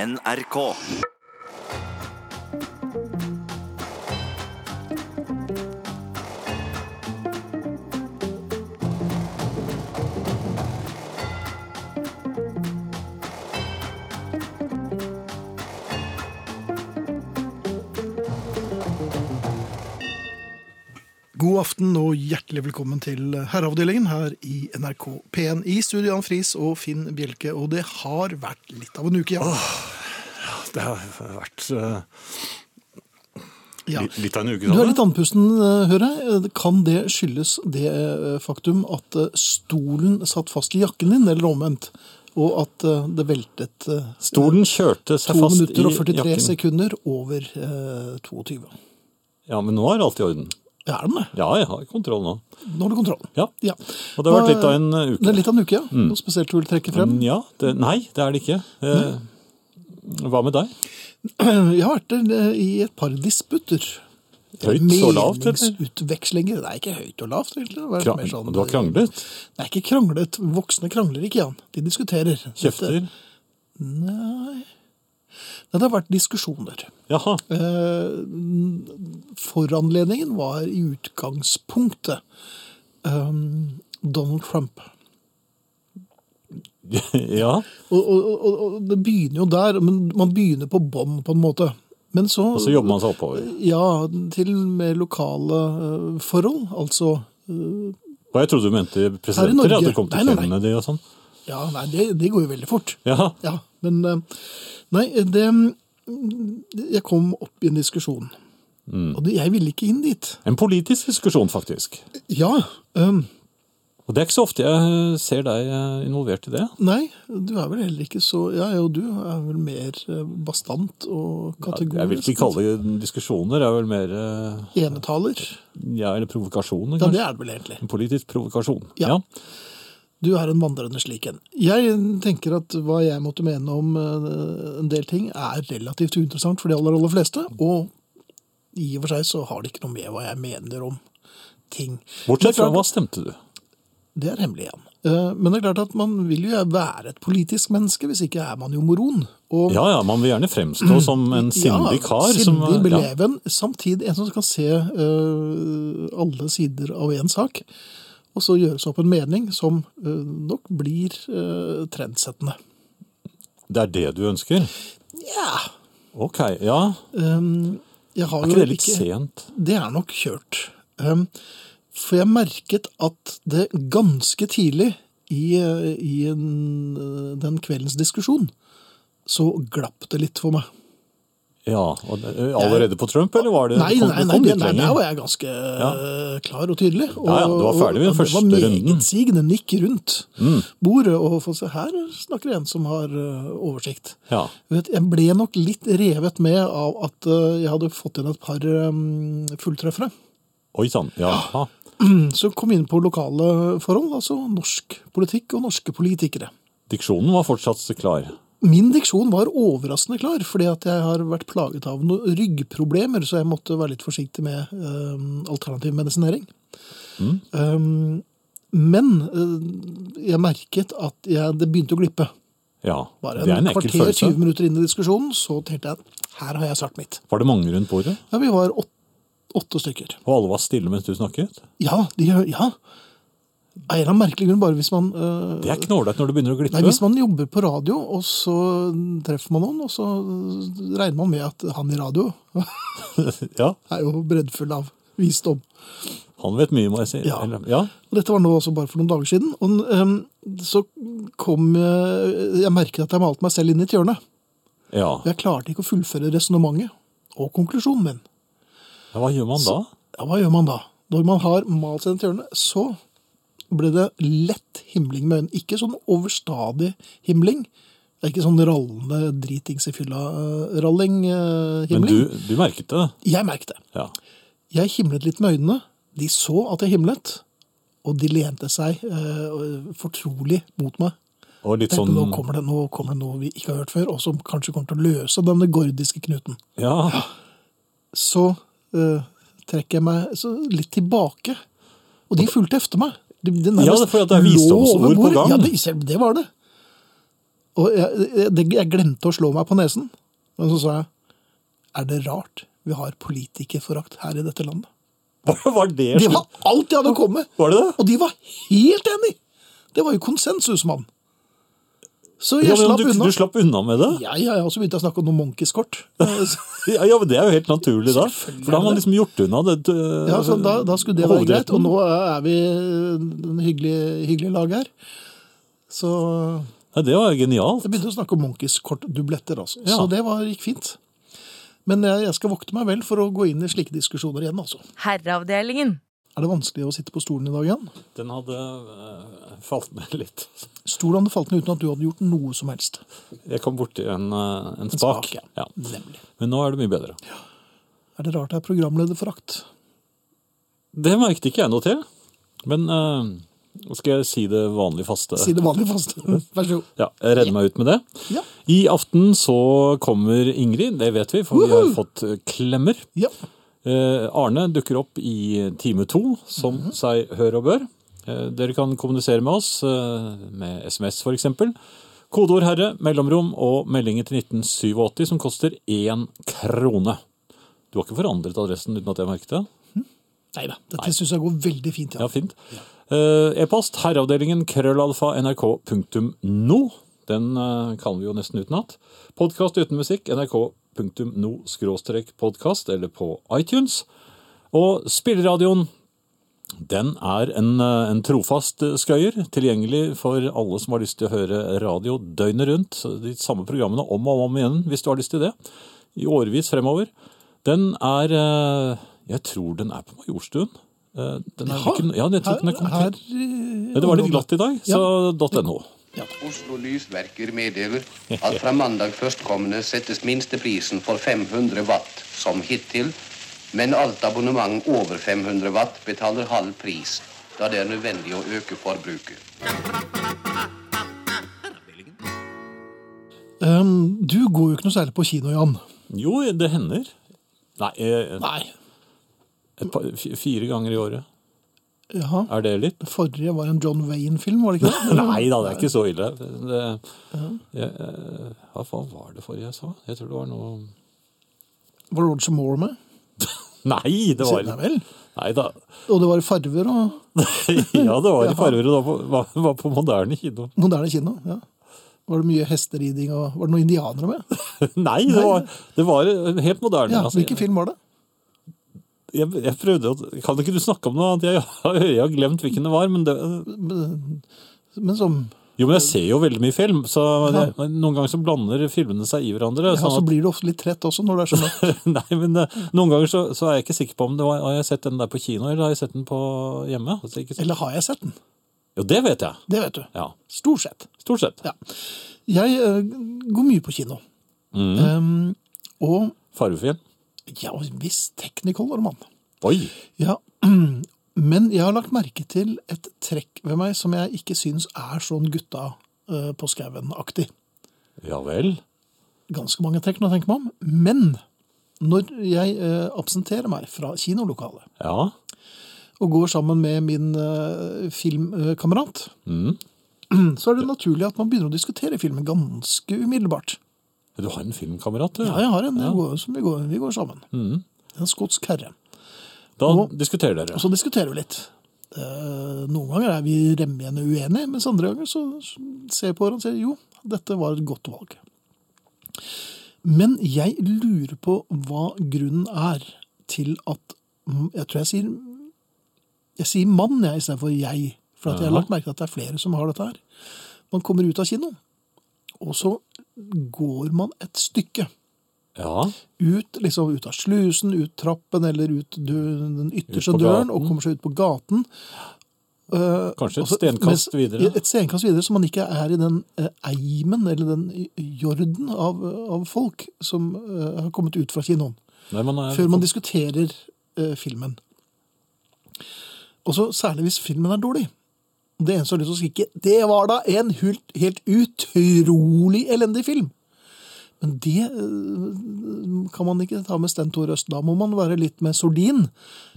NRK. God aften og hjertelig velkommen til Herreavdelingen her i NRK P1 i studio Jan Friis og Finn Bjelke. Og det har vært litt av en uke, ja. Det har vært eh, ja. li- litt av en uke. Du er sånn. litt andpusten, eh, hører jeg. Eh, Kan det skyldes det eh, faktum at eh, stolen satt fast i jakken din, eller omvendt? Og at eh, det veltet eh, Stolen kjørte seg 2 fast i minutter og 43 jakken. sekunder over eh, 22. Ja, men nå er alt i orden. Det er den, det. Ja, jeg har kontroll nå. Nå har du kontroll. Ja. Ja. Og det har vært litt av en eh, Det uke. er litt av en uke, ja. Noe spesielt du vil trekke frem? Ja, det, nei, det er det ikke. Eh, hva med deg? Jeg har vært der i et par disputter. Høyt og lavt, eller? Meningsutvekslinger. Det er ikke høyt og lavt, egentlig. Det har vært Krang, mer sånn- du har kranglet? Det er ikke kranglet. Voksne krangler ikke, Jan. De diskuterer. Kjefter? Dette- Nei. Det har vært diskusjoner. Jaha. Eh, Foranledningen var i utgangspunktet um, Donald Trump. Ja. Og, og, og, og det begynner jo der, men man begynner på bånn på en måte. Men så, Og så jobber man seg oppover. Ja, til med lokale eh, forhold. Altså Og jeg trodde du mente Her i presidenter, Norge. at det kom til Nei, nei, nei. kjennene de og sånn. Ja, nei, det, det går jo veldig fort. Ja. Ja, men eh, Nei, det Jeg kom opp i en diskusjon. Mm. Og det, jeg ville ikke inn dit. En politisk diskusjon, faktisk. Ja. eh, Og det er ikke så ofte jeg ser deg eh, involvert i det. nei, du er vel heller ikke så Ja, jo, du er vel mer eh, bastant og kategorisk. Jeg vil ikke kalle det diskusjoner, det er vel mer eh, Enetaler. ja, eller provokasjoner, Ja, kanskje. det er det vel egentlig. En politisk provokasjon. Ja. Du er en vandrende slik en. Jeg tenker at hva jeg måtte mene om eh, en del ting, er relativt uinteressant for de aller, aller fleste. Og i og for seg så har det ikke noe med hva jeg mener om ting. Men Bortsett det er fra hva klart- stemte du? Det er hemmelig igjen. Eh, Men det er klart at man vil jo være et politisk menneske, hvis ikke er man jo moron. Og Ja ja, man vil gjerne fremstå som en sindig kar. sindig som, ja. beleven. Samtidig en som kan se øh, alle sider av én sak, og så gjøre seg opp en mening som øh, nok blir øh, trendsettende. Det er det du ønsker? Nja Ok, ja. øhm, Ehm, Jeg har Er jo ikke det litt sent? Det er nok kjørt. Øhm, for jeg merket at det ganske tidlig i, øh, i en, øh, den kveldens diskusjon så glapp det litt for meg. Ja, og det, eh, Allerede på Trump, eller var det Nei, kom, nei, du nei, kom det- litt nei, der lenger? var jeg ganske eh, klar og tydelig. Og, Ja, ja, du var ferdig med den og- og første Det var runden. Mm. megetsigende nikk rundt bordet. Og for se, her snakker en som har eh, oversikt. Ja. Du Vet, jeg ble nok litt revet med av at eh, jeg hadde fått inn et par eh, fulltreffere. Oi sann. Jaha. Ah. Som kom inn på lokale forhold, altså norsk politikk og norske politikere. Diksjonen var fortsatt klar. Min diksjon var overraskende klar, fordi at jeg har vært plaget av noen ryggproblemer, så jeg måtte være litt forsiktig med eh, alternativ medisinering. Mm. Eh, men eh, jeg merket at jeg, det begynte å glippe. Ja, Bare Det er en en ekkel kvarter, 20 følelse. minutter inn i diskusjonen, så tenkte jeg her har jeg svart mitt. Var det mange rundt bordet? Ja, Vi var åt- åtte stykker. Og alle var stille mens du snakket? Ja, de, ja. Av en eller annen merkelig grunn, bare hvis man eh, Det er ikke noe ålreit når det begynner å glippe. Nei, Hvis man jobber på radio, og så treffer man noen, og så regner man med at han i radio Ja, er jo breddfull av visdom. Han vet mye, må jeg si. Ja. Eller, ja. Og dette var nå også bare for noen dager siden. Og ehm, så kom eh, Jeg merket at jeg malte meg selv inn i et hjørne. ja. Jeg klarte ikke å fullføre resonnementet og konklusjonen min. Ja, Hva gjør man da? Ja, Hva gjør man da? Når man har malt seg inn i et hjørne, så ble det lett himling med øynene. Ikke sånn overstadig himling. Det er ikke sånn rallende dritings i eh, Men fylla-ralling-himling. du, du merket det? Jeg merket det. Ja. Jeg himlet litt med øynene. De så at jeg himlet, og de lente seg eh, fortrolig mot meg. Og litt Tenkte, sånn nå, kommer det, nå kommer det noe vi ikke har hørt før, og som kanskje kommer til å løse denne gordiske knuten. Ja. Så eh, trekker jeg meg så litt tilbake, og de fulgte efter meg. De, de Ja, det er fordi at det er lå visdomsord over på bordet. gang. Ja, det, det var det. Og jeg, jeg, jeg glemte å slå meg på nesen, men så sa jeg er det rart vi har politikerforakt her i dette landet? Var det Det slutt? var alt jeg hadde kommet med! Var det det? Og de var helt enig! Det var jo konsensus, mann. Så jeg Ja, men slapp du, unna. du slapp unna med det? Ja, ja, ja, og så begynte jeg å snakke om noen monkiskort. Ja, ja, men Det er jo helt naturlig, da. Selvfølgelig For da har er man det. liksom gjort unna det. du- Ja, så da, da skulle det være greit. hovedretten. Og nå er vi en hyggelig, hyggelig lag her. Så Nei, det var genialt. jeg begynte å snakke om monkiskort-dubletter, altså. Ja. Så det var, gikk fint. Men jeg, jeg skal vokte meg vel for å gå inn i slike diskusjoner igjen, altså. Herreavdelingen. Er det vanskelig å sitte på stolen i dag igjen? Den hadde eh, falt ned litt. Stolen hadde falt ned uten at du hadde gjort noe som helst. Jeg kom borti en, eh, en spak. spak, ja. Nemlig. Men nå er det mye bedre. Er det rart det er programlederforakt? Det merket ikke jeg noe til. Men eh, skal jeg si det vanlig faste? Si det vanlig fast. Vær så god. Ja, jeg redder meg ut med det. Ja. I aften så kommer Ingrid, det vet vi, for vi har fått eh, klemmer. Ja. Eh, Arne dukker opp i time to, som seg hør og bør. Eh, dere kan kommunisere med oss, eh, med SMS for eksempel. Kodeord herre, mellomrom og meldinger til 1987 som koster én krone. Du har ikke forandret adressen uten at jeg merket det? Nei da. Dette syns jeg går veldig fint, Ja, ja. fint. Eh, E-post herreavdelingen krøllalfa nrk.no. Den eh, kan vi jo nesten utenat. Podkast uten musikk nrk.no skråstrek podkast eller på iTunes. Og spilleradioen den er en, eh, en trofast eh, skøyer, tilgjengelig for alle som har lyst til å høre radio døgnet rundt. De samme programmene om og om igjen, hvis du har lyst til det. I årevis fremover. Den er eh, Jeg tror den er på Majorstuen. Eh, Den er Jaha. ikke, ja, jeg tror ikke den er Her, kommet her eh, til. Ja, Det var litt glatt i dag, så .no. Oslo Lysverker meddeler at fra mandag førstkommende settes minsteprisen for 500 watt som hittil, men alt abonnement over 500 watt betaler halv pris, da det er nødvendig å øke forbruket. Um, du går jo ikke noe særlig på kino, Jan. Jo, det hender. Nei, eh, Nei. et par, fi- fire ganger i året. Jaha. Er det litt? Det forrige var en John Wayne-film, var det ikke det? Nei da, det er ikke så ille. Det, jeg, eh, hva faen var det forrige jeg sa? Jeg tror det var noe Var Roger Moore med? Nei, det var Nei vel. Nei da. Og det var i farver og Ja, det var i farger og da på- var, var på moderne kino. moderne kino. ja. Var det mye hesteriding og Var det noen indianere med? Nei, det var, det var helt moderne. Ja, altså. Hvilken film var det? jeg, jeg prøvde å Kan ikke du snakke om noe annet? Jeg, jeg har glemt hvilken det var, men det Men, men som Jo, men jeg ser jo veldig mye film, så Ja. jeg, men noen ganger så blander filmene seg i hverandre. Ja, så sånn at, blir du ofte litt trett også når det er sånn. at- nei, men eh, Noen ganger så, så er jeg ikke sikker på om det var, har jeg sett den der på kino eller har jeg sett den på hjemme. Altså, ikke, Eller har jeg sett den? jo, det vet jeg. Det vet du. Ja, Stort sett. Stort sett. Ja. Jeg eh, går mye på kino. Em, og Fargefilm. ja, en viss teknikolor, mann. Oi! Ja. Men jeg har lagt merke til et trekk ved meg som jeg ikke syns er sånn gutta eh, på skauen-aktig. Ja vel. Ganske mange trekk når jeg tenker meg om. Men når jeg eh, absenterer meg fra kinolokalet Ja. og går sammen med min eh, filmkamerat, Mm. så er det naturlig at man begynner å diskutere filmen ganske umiddelbart. Du har en filmkamerat, du. Ja, jeg har en jeg går, som vi går, vi går sammen. En skotsk herre. Da Og- diskuterer dere. Og så diskuterer vi litt. Eh, Noen ganger er vi remmende uenige, mens andre ganger så ser jeg på hverandre og sier jo, dette var et godt valg. Men jeg lurer på hva grunnen er til at mm, Jeg tror jeg sier jeg sier mann jeg istedenfor jeg. For at jeg har lagt merke til at det er flere som har dette her. Man kommer ut av kino, og så går man et stykke. Ja. Ut, liksom, ut av slusen, ut trappen eller ut dø, den ytterste Ut på døren, gaten. og kommer seg ut på gaten. Kanskje et Altså, stenkast mens- videre. Et stenkast videre, så man ikke er i den eh, eimen eller den jorden av, av folk som eh, har kommet ut fra kinoen, Nei, man er, før man diskuterer eh, filmen. Og så særlig hvis filmen er dårlig. Det eneste jeg har lyst til å skrike, det var da en helt, helt utrolig elendig film! Men det eh, kan man ikke ta med Sten Tore Øst. Da må man være litt med sordin.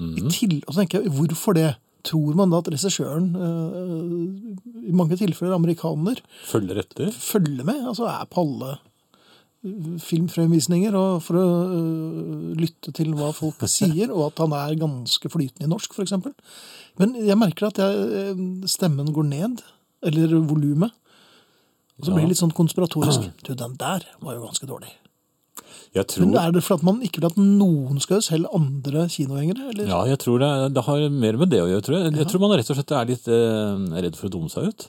I til, og så tenker jeg, hvorfor det? tror man da at regissøren, eh, i mange tilfeller amerikaner, Følger etter. følger med. Altså er på alle eh, filmfremvisninger og for å eh, lytte til hva folk sier, og at han er ganske flytende i norsk, f.eks. Men jeg merker at jeg, eh, stemmen går ned, eller volumet. Og så Ja. blir det litt sånn konspiratorisk. Du, den der var jo ganske dårlig. Jeg Men tror, er det fordi at man ikke vil at noen skal høre selv andre kinogjengere? Eller? ja, jeg tror det, det har mer med det å gjøre, tror jeg. Jeg tror man rett og slett er litt eh, redd for å dumme seg ut.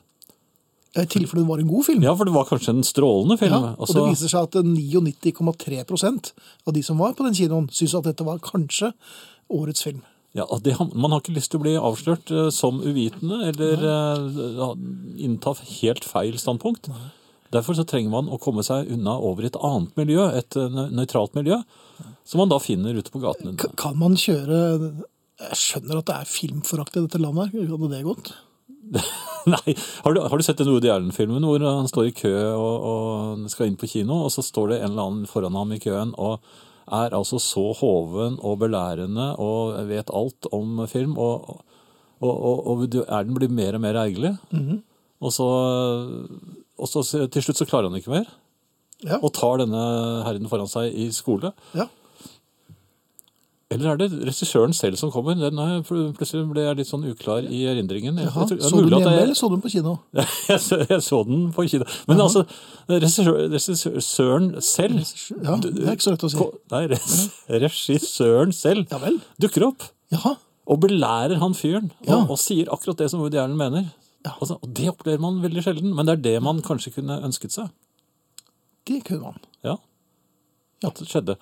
I tilfelle det var en god film. Ja, for det var kanskje en strålende film. Ja, og det viser seg at 99,3 av de som var på den kinoen, syntes at dette var kanskje årets film. Ja, at det, har- man har ikke lyst til å bli avslørt eh, som uvitende eller eh, ha- innta helt feil standpunkt. Derfor så trenger man å komme seg unna over i et annet miljø, et eh, nø- nøytralt miljø, som man da finner ute på gatene. K kan man kjøre Jeg skjønner at det er filmforakt i dette landet. Hadde det gått? Nei, har du, har du sett den Woody Allen-filmen hvor han står i kø og, og skal inn på kino, og så står det en eller annen foran ham i køen og er altså så hoven og belærende og vet alt om film, og, og, og, og du- er den blir mer og mer ergerlig. Mhm. og, så, og så s- til slutt så klarer han ikke mer, Ja. og tar denne herren foran seg i skole. ja. Eller er det regissøren selv som kommer? Den har jeg- pl- plutselig ble jeg litt sånn uklar i erindringen. Jeg- Jaha. jeg tror- det er Så du mulig den at hjemme, jeg- eller så du den på kino? jeg, så, jeg så den på kino. Men altså, regissør- regissøren selv Ja, det er ikke så lett å si. Ko- Nei, res- regissøren selv Ja vel. dukker opp Jaha. og belærer han fyren og, Ja. og sier akkurat det som Woody Allen mener. Ja. Altså, og det opplever man veldig sjelden, men det er det man kanskje kunne ønsket seg. Det kunne man. Ja. Ja. At det skjedde.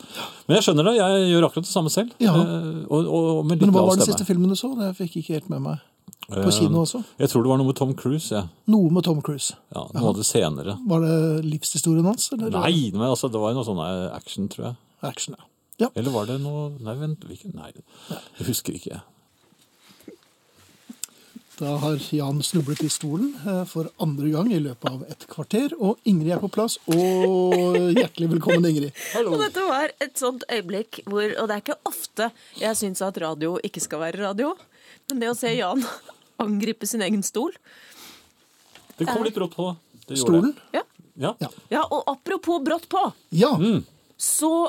Men jeg skjønner det, jeg gjør akkurat det samme selv. Ja. eh, Og, og med litt Men hva lav var den stemme. siste filmen du så? Det fikk jeg ikke helt med meg. På Eh, kino også? Jeg tror det var noe med Tom Cruise. Ja. Noe med Tom Cruise. Ja, noe av det senere. Var det livshistorien hans? Eller Nei, men altså, det var jo noe sånn eh, action, tror jeg. Action, ja. ja. Eller var det noe Nei, vent hvilken? Nei, jeg husker ikke. Da har Jan snublet i stolen eh, for andre gang i løpet av et kvarter. Og Ingrid er på plass. Og hjertelig velkommen, Ingrid. Og dette var et sånt øyeblikk hvor Og det er ikke ofte jeg syns at radio ikke skal være radio. Men det å se Jan angripe sin egen stol Det kom litt brått på. Det gjorde Stolen? det. Ja, Ja. Ja. ja og apropos brått på, Ja. så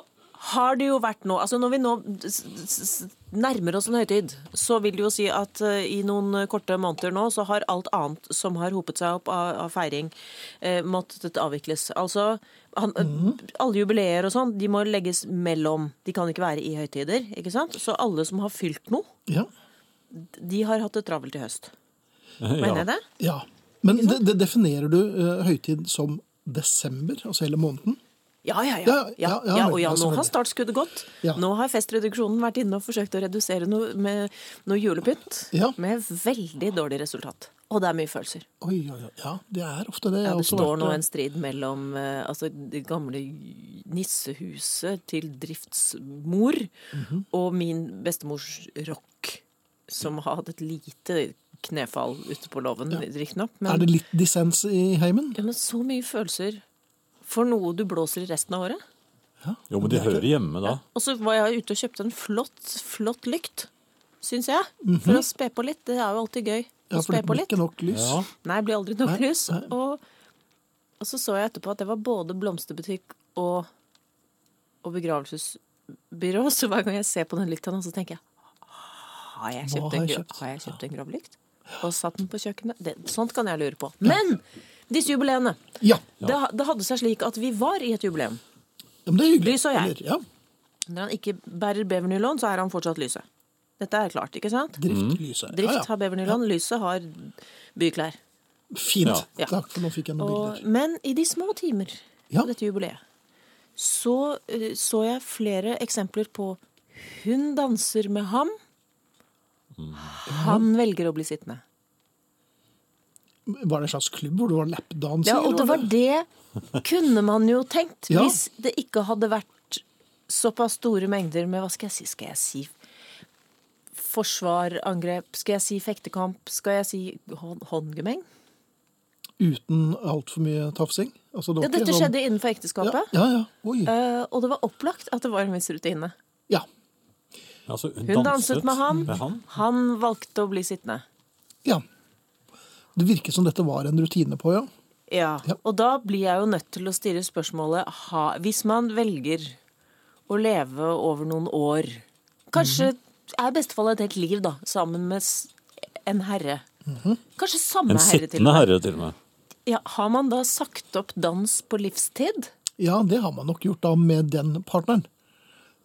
har det jo vært nå Altså når vi nå s- s- s- nærmer oss en høytid, så vil det jo si at eh, i noen korte måneder nå så har alt annet som har hopet seg opp av, av feiring, eh, måttet avvikles. Altså han, alle jubileer og sånn, de må legges mellom. De kan ikke være i høytider, ikke sant? Så alle som har fylt noe ja. de har hatt det travelt i høst. Ja. Mener jeg det? ja. Men det, det definerer du eh, høytid som desember, altså hele måneden? Ja, ja, ja. Ja, ja, ja, ja, ja og ja, ja, nå har selvfølgelig. startskuddet gått. Ja. Nå har festreduksjonen vært inne og forsøkt å redusere noe, med noe julepynt. Ja. Med veldig dårlig resultat. Og det er mye følelser. Oi, oi, oi. Ja, det er ofte det. Jeg Ja, har det også står vært- nå en strid mellom eh, altså, det gamle nissehuset til driftsmor Mhm. og min bestemors rock, som har hatt et lite knefall ute på låven, riktignok. men- Er det litt dissens i heimen? Ja, men så mye følelser for noe du blåser i resten av året. Jo, men de hører hjemme da. Og så var jeg ute og kjøpte en flott, flott lykt, syns jeg. For å spe på litt. Det er jo alltid gøy Mhm. Ja, å for spe det på blir litt. ikke nok lys. Ja. Nei, det blir aldri nok Nei, lys. Og, og så så jeg etterpå at det var både blomsterbutikk og, og begravelsesbyrå. Så hver gang jeg ser på den lykta nå, så tenker jeg har jeg Hva kjøpt, har en, jeg gra- kjøpt? Har jeg kjøpt en gravlykt? Og satt den på kjøkkenet? Det, sånt kan jeg lure på. Men disse jubileene. Ja. Det, ha- det hadde seg slik at vi var i et jubileum. ja, men det er hyggelig. Lys og jeg. Eller, Ja, Når han ikke bærer bevernylon, så er han fortsatt lyset. Dette er klart, ikke sant? drift, lys og- ja, Drift ja. har bevernylon, lyset har byklær. Fint. Ja. Takk, for nå fikk jeg noen Og, bilder. men i de små timer Ja. på dette jubileet, så eh, så jeg flere eksempler på hun danser med ham, Mm. han velger å bli sittende. Var det en slags klubb hvor du var lapdanser? Ja, og det eller var det kunne man jo tenkt Ja. hvis det ikke hadde vært såpass store mengder med hva skal jeg si, skal jeg si forsvar, angrep, skal jeg si fektekamp, skal jeg si hånd, håndgemeng? Uten altfor mye tafsing? Altså, det var Ja, ikke dette sånn- skjedde innenfor ekteskapet, Ja, ja. ja. Oi. eh, og det var opplagt at det var en viss rutine. Ja. Altså, hun, Hun danset med han. med han. Han valgte å bli sittende. Ja. Det virket som dette var en rutine på, ja. Ja, Ja. og da blir jeg jo nødt til å stille spørsmålet ha, Hvis man velger å leve over noen år Kanskje er i beste fall et helt liv, da, sammen med s- en herre. Kanskje samme En herre til og sittende med. herre, til og med. Ja, har man da sagt opp dans på livstid? Ja, det har man nok gjort da med den partneren.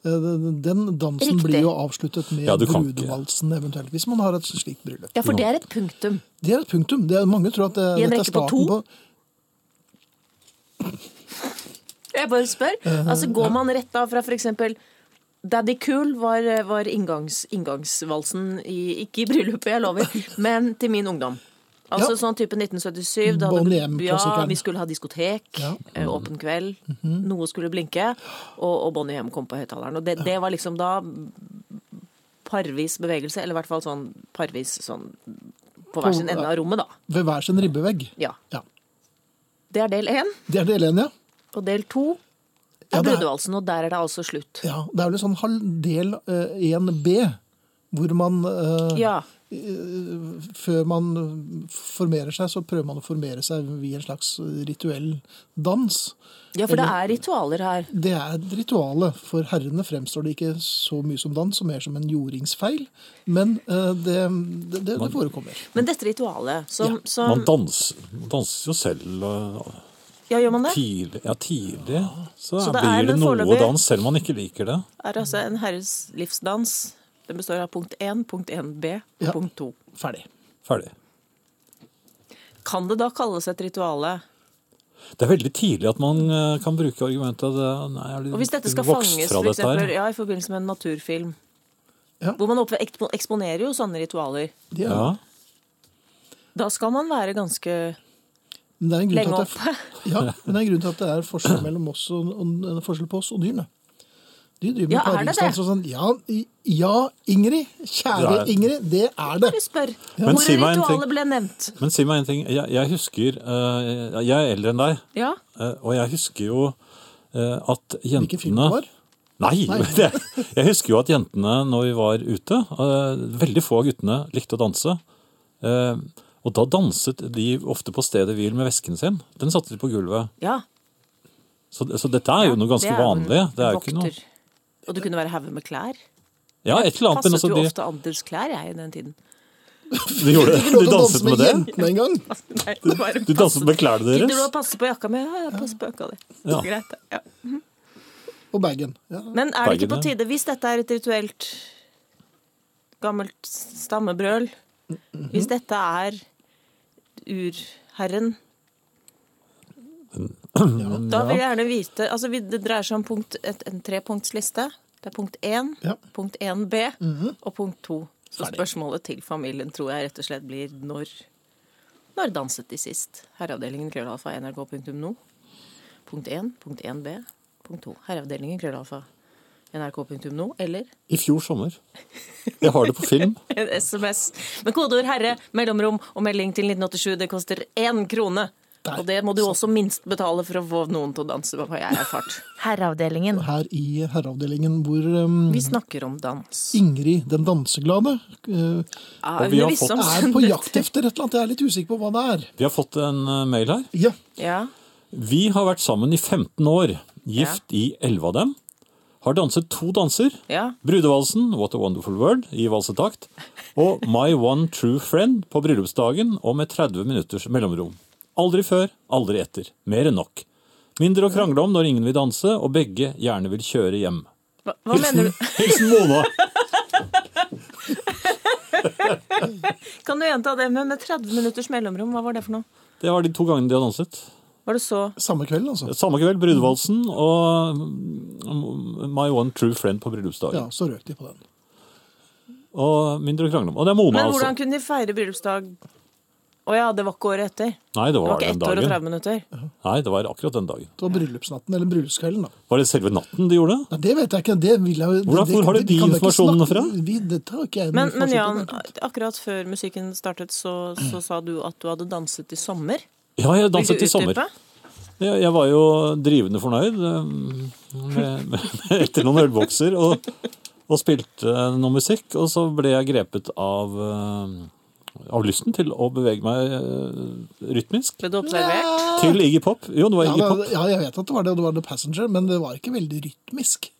Eh, Den dansen Riktig. blir jo avsluttet med Ja, du kan ikke- brudevalsen eventuelt, hvis man har et slikt bryllup. Ja, for det er et punktum. Det er et punktum. Det er, mange tror at det, I en dette er rekke på starten to? på, Jeg bare spør. Altså, Går man rett da fra f.eks. Daddy Cool var, var inngangs, inngangsvalsen i, ikke i bryllupet, jeg lover, men til min ungdom. Altså Ja. sånn type 1977. Da Bonnie hadde, ja, M-klassikeren. vi skulle ha diskotek, Ja. Mhm. eh, åpen kveld, noe skulle blinke, og, og Bonnie M kom på høyttaleren. Og det, det var liksom da parvis bevegelse, eller i hvert fall sånn parvis sånn på hver sin ende av rommet, da. ved hver sin ribbevegg. Ja. Ja. Det er del én. Det er del én, ja. Og del to Ja, er det er- brudevalsen, og der er det altså slutt. ja. Det er vel en sånn halv del eh, 1B, hvor man eh, Ja. Før man formerer seg, så prøver man å formere seg via en slags rituell dans. ja, for det er ritualer her. Det er et ritualet. For herrene fremstår det ikke så mye som dans, som mer som en jordingsfeil. Men eh, det, det, det, det forekommer. Men dette ritualet som, som Man danser, man danser jo selv eh, Ja, gjør man det? tidlig. Ja, tidlig. Så, Så det er blir det en noe foreløpig- dans, selv om man ikke liker det. Er altså en herres livsdans. Den består av punkt 1, punkt 1b og Ja. punkt 2. Ferdig. Ferdig. Kan det da kalles et rituale? Det er veldig tidlig at man eh, kan bruke argumentet at eh, nei, jeg er litt Og hvis dette skal vokst fanges fra for dette her. eksempel, ja, i forbindelse med en naturfilm, Ja. hvor man opp- ekspo- eksponerer jo sånne ritualer, Det er, Ja. da skal man være ganske men det er en grunn lenge til at det oppe. er, ja, men det er en grunn til at det er forskjell mellom oss og, og, og forskjell på oss og dyrene. De driver med Ja, er det paringsdans og sånn. Ja, i- ja, Ingrid. Kjære Det er- Ingrid, det er det. Jeg spør. Men Hvor si meg en ting. ritualet ble nevnt. Men si meg en ting. Jeg, jeg husker eh, Jeg er eldre enn deg, Ja, eh, og jeg husker jo eh, at jentene Hvilken film det var? Nei! Nei. Det, jeg husker jo at jentene, når vi var ute eh, Veldig få av guttene likte å danse. Eh, og da danset de ofte på stedet hvil med vesken sin. Den satte de på gulvet. ja. Så, så dette er jo noe ganske Det er jo en vanlig. Det er jo ikke noe vokter. Og det kunne være hauger med klær. Ja, et eller annet, men Passet altså jo de, ofte andelsklær, jeg, i den tiden. du, gjorde, Ikke lov til du å danse danset med den? jentene engang. Nei, det var en Du danset med klærne passe- Gidder du å deres? passe på jakka mi? Ja, jeg passer på jakka di. Ja. Greit, ja. Og bagen. Ja. Men er det ikke Bergen, på ja. tide, hvis dette er et rituelt gammelt stammebrøl Hvis dette er urherren Da vil jeg gjerne vite altså vi- Det dreier seg om punkt, et, en trepunktsliste. Det er punkt 1, Ja. punkt 1b og punkt 2. Så spørsmålet til familien tror jeg rett og slett blir når Når danset de sist? Herreavdelingen krøllalfa nrk.no. Punkt 1, punkt 1b, punkt 2. Herreavdelingen krøllalfa nrk.no. Eller I fjor sommer. Jeg har det på film. en SMS med kodeord 'herre', mellomrom og melding til 1987. Det koster én krone. Der. Og det må du også minst betale for å få noen til å danse, har jeg erfart. Herreavdelingen. Her i herreavdelingen hvor um, Mm. Vi snakker om dans. Ingrid den danseglade eh, Ja, Og vi har Aune Rissam er sendet- på jakt etter et eller annet. Jeg er litt usikker på hva det er. Vi har fått en eh, mail her. Ja, Ja. Vi har vært sammen i 15 år, gift i 11 av dem. Har danset to danser. Ja. Brudevalsen, What a Wonderful World, i valsetakt. Og My One True Friend på bryllupsdagen og med 30 minutters mellomrom. Aldri før, aldri etter. Mer enn nok. Mindre å krangle om når ingen vil danse, og begge gjerne vil kjøre hjem. Hva, hva mener du? Hilsen Mona. Kan du gjenta det med, med 30 minutters mellomrom? Hva var det for noe? Det var de to gangene de har danset. Var det så samme kveld, altså. Samme kveld, brudevalsen og mm, My One True Friend på Ja, bryllupsdagen. så røk de på den. Og mindre å krangle om. Og det er Mona, Men altså. hvordan kunne de feire bryllupsdag? Å ja, det var ikke året etter. Det Nei, det var var ikke den ett år og 30 dagen. minutter. Nei, det var akkurat den dagen. Det var bryllupsnatten, eller bryllupskvelden, da. Var det selve natten de gjorde? Nei, det vet jeg ikke. Det vil jeg jo Hvordan- det- hvor har du det- de kan jeg ikke informasjonene snakke- fra? Vi, det tar ikke jeg noen Men, men informasjon Jan, på. akkurat før musikken startet, så, så sa du at du hadde danset i sommer. Ja, jeg Vil du danset i sommer. utdype? Jeg, jeg ehm, var jo drivende fornøyd eh, med, med, etter noen ølbokser. Og, og spilte eh, noe musikk, og så ble jeg grepet av, eh, av lysten til å bevege meg eh, rytmisk Ble du observert? til Iggy Pop. Jo, det var Ja, Iggy da- Pop. ja, jeg vet at det var det, og det var The Passenger, men det var ikke veldig rytmisk.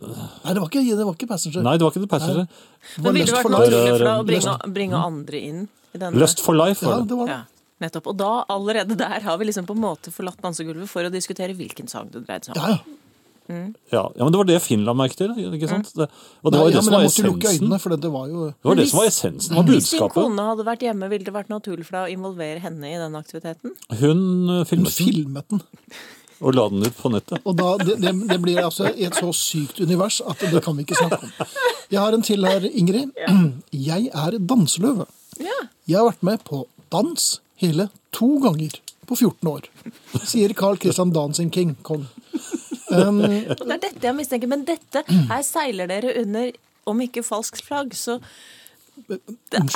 Nei, det var ikke, det var ikke Passenger. Nei, det var ikke The Passenger. det var Men ville Lust det vært for Life. naturlig for deg å bringe, Lyst. bringe andre inn i denne? Lust for life Ja, var det. det var det. Ja, nettopp. Og da, allerede der, har vi liksom på en måte forlatt dansegulvet for å diskutere hvilken sang det dreide seg om. Ja, ja. Ja, ja, men det var det Finland merket til, Mm. ikke sant? Det, og Nei, det ja, var jo det men som var jeg måtte lukke essensen. øynene, for det var jo Det var Men det som var hvis- essensen av Hvis din budskapet. kone hadde vært hjemme, ville det vært naturlig for deg å involvere henne i den aktiviteten? Hun eh, Hun filmet den filmet den. og la den ut på nettet. Og da, det, det, det blir altså i et så sykt univers at det kan vi ikke snakke om. Jeg har en til her, Ingrid. Jeg er danseløve. Ja. Jeg har vært med på dans hele to ganger på 14 år, sier Carl Christian Dancing King, kong. Um, Og det er dette jeg mistenker. Men dette, her seiler dere under, om ikke falskt flagg, så det,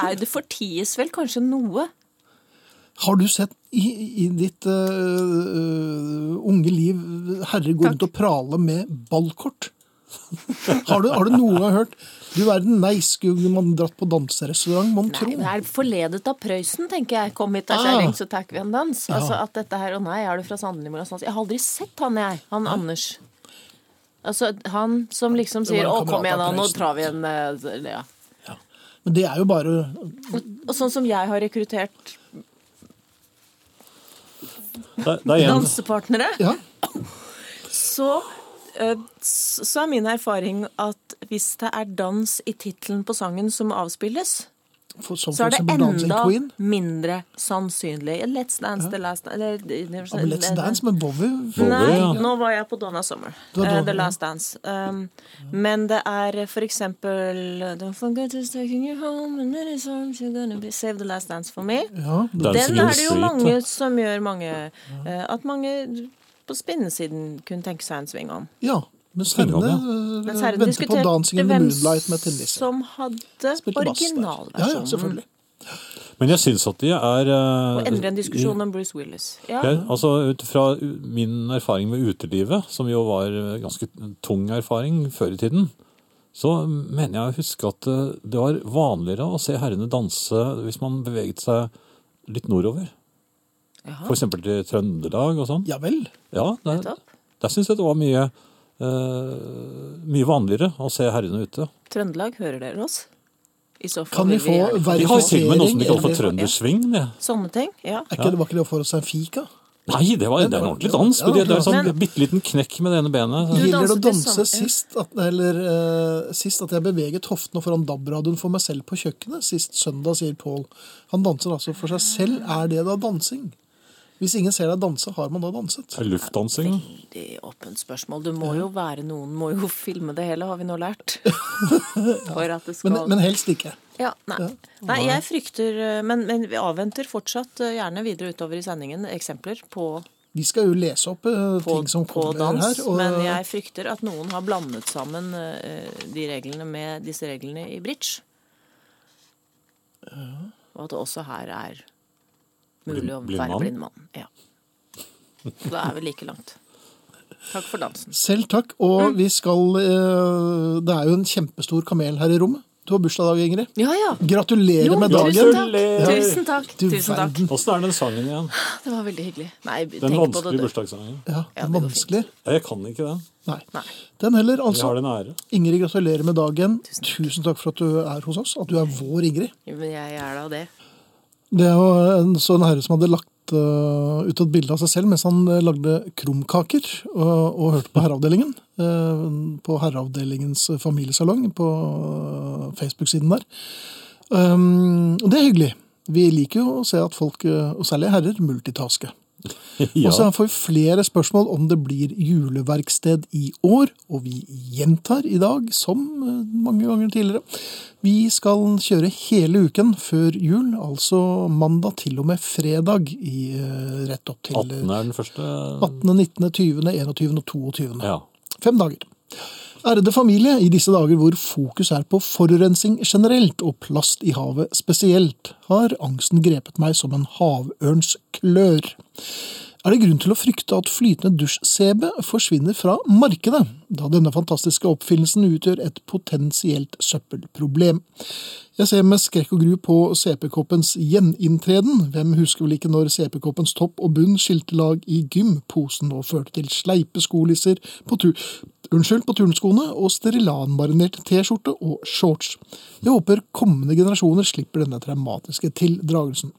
er, det forties vel kanskje noe? har du sett i, i ditt øh, øh, unge liv herre gå rundt og prale med ballkort? Har du, har du noen gang hørt Du verden, nei, skulle man dratt på danserestaurant, mon tro? Nei, det er forledet av Prøysen, tenker jeg. Kom hit, da, Ah. kjerring, så tar vi en dans. Altså at dette her, Å nei, er du fra Sandelimor? og sånn. Jeg har aldri sett han, jeg. Han Anders. Altså, han som liksom Det var en sier å, kamerat kom igjen, av da, nå Prøysen. tar vi en eh, ja. Men det er jo bare Og sånn som jeg har rekruttert Det, det er en, dansepartnere, Ja. så eh, s- så er min erfaring at hvis det er dans i tittelen på sangen som avspilles, For, som så for er det eksempel Dancing enda Queen. mindre sannsynlig. Let's dance the last eller, eh, Ja, men Let's Dance med Bowie. Bowie, Nei, ja. nå var jeg på Donna Summer. Du var eh, Donna, The ja. Last Dance. Um, men det er for eksempel Don't forget who's taking you home and many songs you're gonna be Save the last dance for me. Ja, det, Dancing Den in er the det jo Street, mange da. som gjør mange eh, At mange på spinnesiden kunne tenke seg en sving om. ja. Mens herrene Synger øh, Mens herren venter på Dancing in diskuterte the hvem Moonlight med tennis. som hadde Spilte bass der. Ja, ja, originalversjonen. selvfølgelig. men jeg syns at de er eh, Og endre en diskusjon om Bruce Willis. Ja. Jeg, altså Ut fra u- min erfaring med utelivet, som jo var eh, ganske tung erfaring før i tiden, så mener jeg å huske at eh, det var vanligere å se herrene danse hvis man beveget seg litt nordover. Jaha. F.eks. til Trøndelag og sånn. Ja vel. Ja, der, Nettopp. der syns jeg det var mye, eh, mye vanligere å se herrene ute. Trøndelag, hører dere oss? I så fall Kan vi vil få gjerne- De har jo til og med noe som verifisering? de kaller for eller- trøndersving. det. Sånne ting? Ja. Er ikke det var ikke det å få seg en fika? Nei, det var det er en ordentlig dans. men det, det er sånn Men- bitte liten knekk med det ene benet. Du Gjelder det å danset til danse sånn- sist at, eller, eh, sist at jeg beveget hoftene foran DAB-radioen for meg selv på kjøkkenet? Sist søndag, sier Pål. Han danser altså for seg selv. Ah. Er det da dansing? Hvis ingen ser deg danse, har man da danset? Luftdansing. Veldig åpent spørsmål. Det må jo være noen må jo filme det hele, har vi nå lært. For at det skal Men, men helst ikke. ja, nei. nei, jeg frykter eh, Men, men vi avventer fortsatt eh, gjerne videre utover i sendingen eksempler på, Vi skal jo lese opp eh, på, ting som på kommer dans. her. Og, Men jeg frykter at noen har blandet sammen eh, de reglene med disse reglene i bridge. Og at det også her er mulig å Blind- være blindmann? blindmann. Ja. Da er vi like langt. Takk for dansen. Selv takk. Mm. Og vi skal eh, Det er jo en kjempestor kamel her i rommet. Du har bursdag i dag, Ingrid. Ja, ja. Gratulerer Jo, med tusen dagen. takk. Gratulerer. Tusen takk. Du Tusen takk. Ah, verden. Åssen er den sangen igjen? Det var veldig hyggelig. Nei, Den tenk på det, vanskelige du. bursdagssangen. Ja, det Ja, det er går vanskelig. Ja, Jeg kan ikke den. Nei. Nei. Den heller, Vi altså. har den ære. Ingrid, gratulerer med dagen. Tusen Tusen takk. for at du er hos oss. At du er vår Ingrid. Jo, Men jeg er da det. Det er jo en sånn herre som hadde lagt øh, ut et bilde av seg selv mens han øh, lagde krumkaker og, og hørte på Herreavdelingen. øh, på Herreavdelingens familiesalong på øh, Facebook-siden der. Um, og det er hyggelig. Vi liker jo å se at folk, øh, og særlig herrer, multitasker. Ja. Og så får vi flere spørsmål om det blir juleverksted i år, og vi gjentar i dag, som eh, mange ganger tidligere. Vi skal kjøre hele uken før jul, altså mandag til og med fredag, i, eh, rett opp til 18 eh, er den første. 18., 19., 20., 21. og 22. Ja. Fem dager. Ærede familie, i disse dager hvor fokus er på forurensning generelt og plast i havet spesielt, har angsten grepet meg som en havørns klør. er det grunn til å frykte at flytende dusj-CB forsvinner fra markedet, da denne fantastiske oppfinnelsen utgjør et potensielt søppelproblem. Jeg ser med skrekk og gru på CP-koppens gjeninntreden. Hvem husker vel ikke når CP-koppens topp og bunn skilte lag i gymposen og førte til sleipe skolisser på tur... Unnskyld, på turnskoene og Sterilan-marinert T-skjorte og shorts. Jeg håper kommende generasjoner slipper denne traumatiske tildragelsen.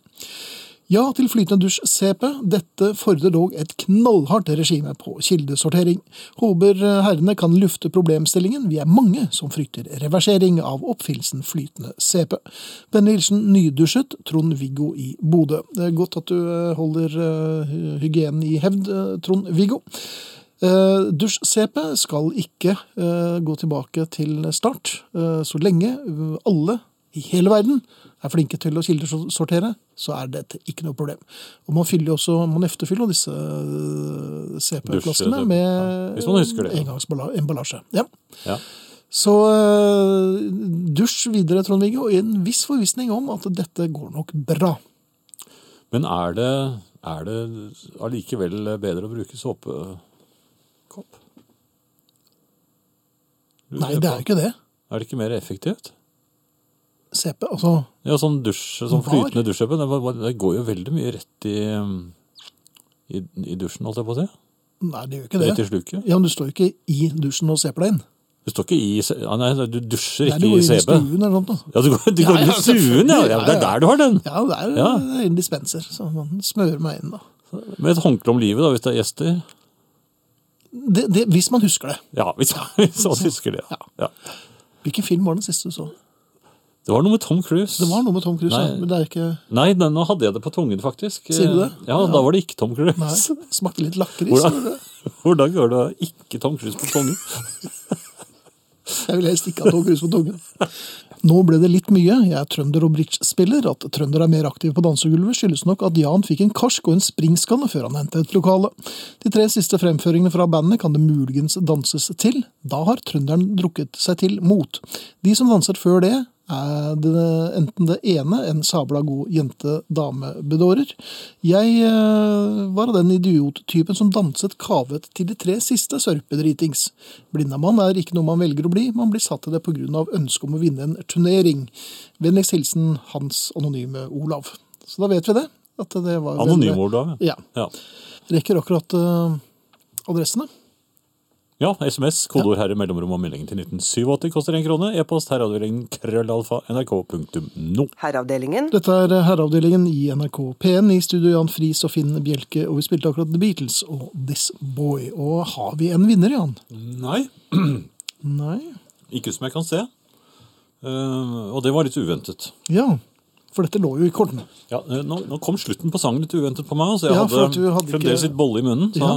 Ja til flytende dusj-CP. Dette fordrer dog et knallhardt regime på kildesortering. Håper eh, herrene kan lufte problemstillingen. Vi er mange som frykter reversering av oppfinnelsen flytende CP. Vennlig hilsen nydusjet Trond-Viggo i Bodø. Det er godt at du eh, holder eh, hygienen i hevd, eh, Trond-Viggo. Eh, Dusj-CP skal ikke eh, gå tilbake til start eh, så lenge eh, alle i hele verden er flinke til å kildesortere, så er dette ikke noe problem. Og man fyller jo også, man efterfyller jo disse eh, CP-flaskene Dusj-CP, med ja. Hvis man husker det, ja. engangsemballasje. Ja. Ja. Så eh, dusj videre, Trond-Viggo, i en viss forvissning om at dette går nok bra. Men er det, er det allikevel bedre å bruke såpekopp? Nei, det er jo ikke det. Er det ikke mer effektivt? CP, altså Ja, sånn dusj, sånn Var? flytende dusjøppe, det, var- det går jo veldig mye rett i, um, i, i dusjen, holdt jeg på å si. Nei, det gjør ikke Rett i det. sluket. Ja, men du står jo ikke i dusjen og ser på deg inn. Du står ikke i, se- ah, nei, du dusjer Nei, du ikke går i inn i CB. stuen eller noe sånt. da. Ja, du går, du Ja, går ja, inn i stuen, ja. selvfølgelig, ja. ja, Det er ja. der du har den. Ja, det er Ja. det er en dispenser, så man smører meg inn da. Med et håndkle om livet, da, hvis det er gjester. Det, det, hvis man husker det. Ja, hvis, hvis man husker det. Ja. Ja. Hvilken film var den siste du så? Det var noe med Tom Cruise. Det var noe med Tom Cruise, Nei. ja, men det er ikke... Nei, den, nå hadde jeg det på tungen, faktisk. Eh, Sier du det? Ja, da var det ikke Tom Cruise. Nei, smakte litt lakris. gjorde Hvordan, det. hvordan gjør du ikke Tom Cruise på tungen? Jeg vil helst ikke ha Tom Cruise på tungen. Nå ble det litt mye. Jeg er trønder og bridge-spiller. At trønder er mer aktiv på dansegulvet skyldes nok at Jan fikk en karsk og en springskalle før han hentet et lokale. De tre siste fremføringene fra bandet kan det muligens danses til. Da har trønderen drukket seg til mot. De som danser før det, er det enten det ene en sabla god jente-dame-bedårer. Jeg eh, var av den idiot-typen som danset kavet til de tre siste sørpedritings. Blindamann er ikke noe man velger å bli, man blir satt til det pga. ønsket om å vinne en turnering. Vennligst hilsen Hans anonyme Olav. Så da vet vi det. At det var vel- Anonym Olav. Ja. Ja. Rekker akkurat eh, adressene. ja, SMS, kodeord herre, mellomrom og melding til 1987 koster én krone. E-post herreavdelingen krøllalfa nrk.no. Herreavdelingen. Dette er Herreavdelingen i NRK P1 i studio Jan Friis og Finn Bjelke, og vi spilte akkurat The Beatles og This Boy. Og har vi en vinner, Jan? Nei, Nei. ikke som jeg kan se. Eh, og det var litt uventet. Ja, for dette lå jo i kortene. Ja, eh, nå, nå kom slutten på sangen litt uventet på meg, så jeg Ja, for at hadde, du hadde ikke- fremdeles litt bolle i munnen så, Ja.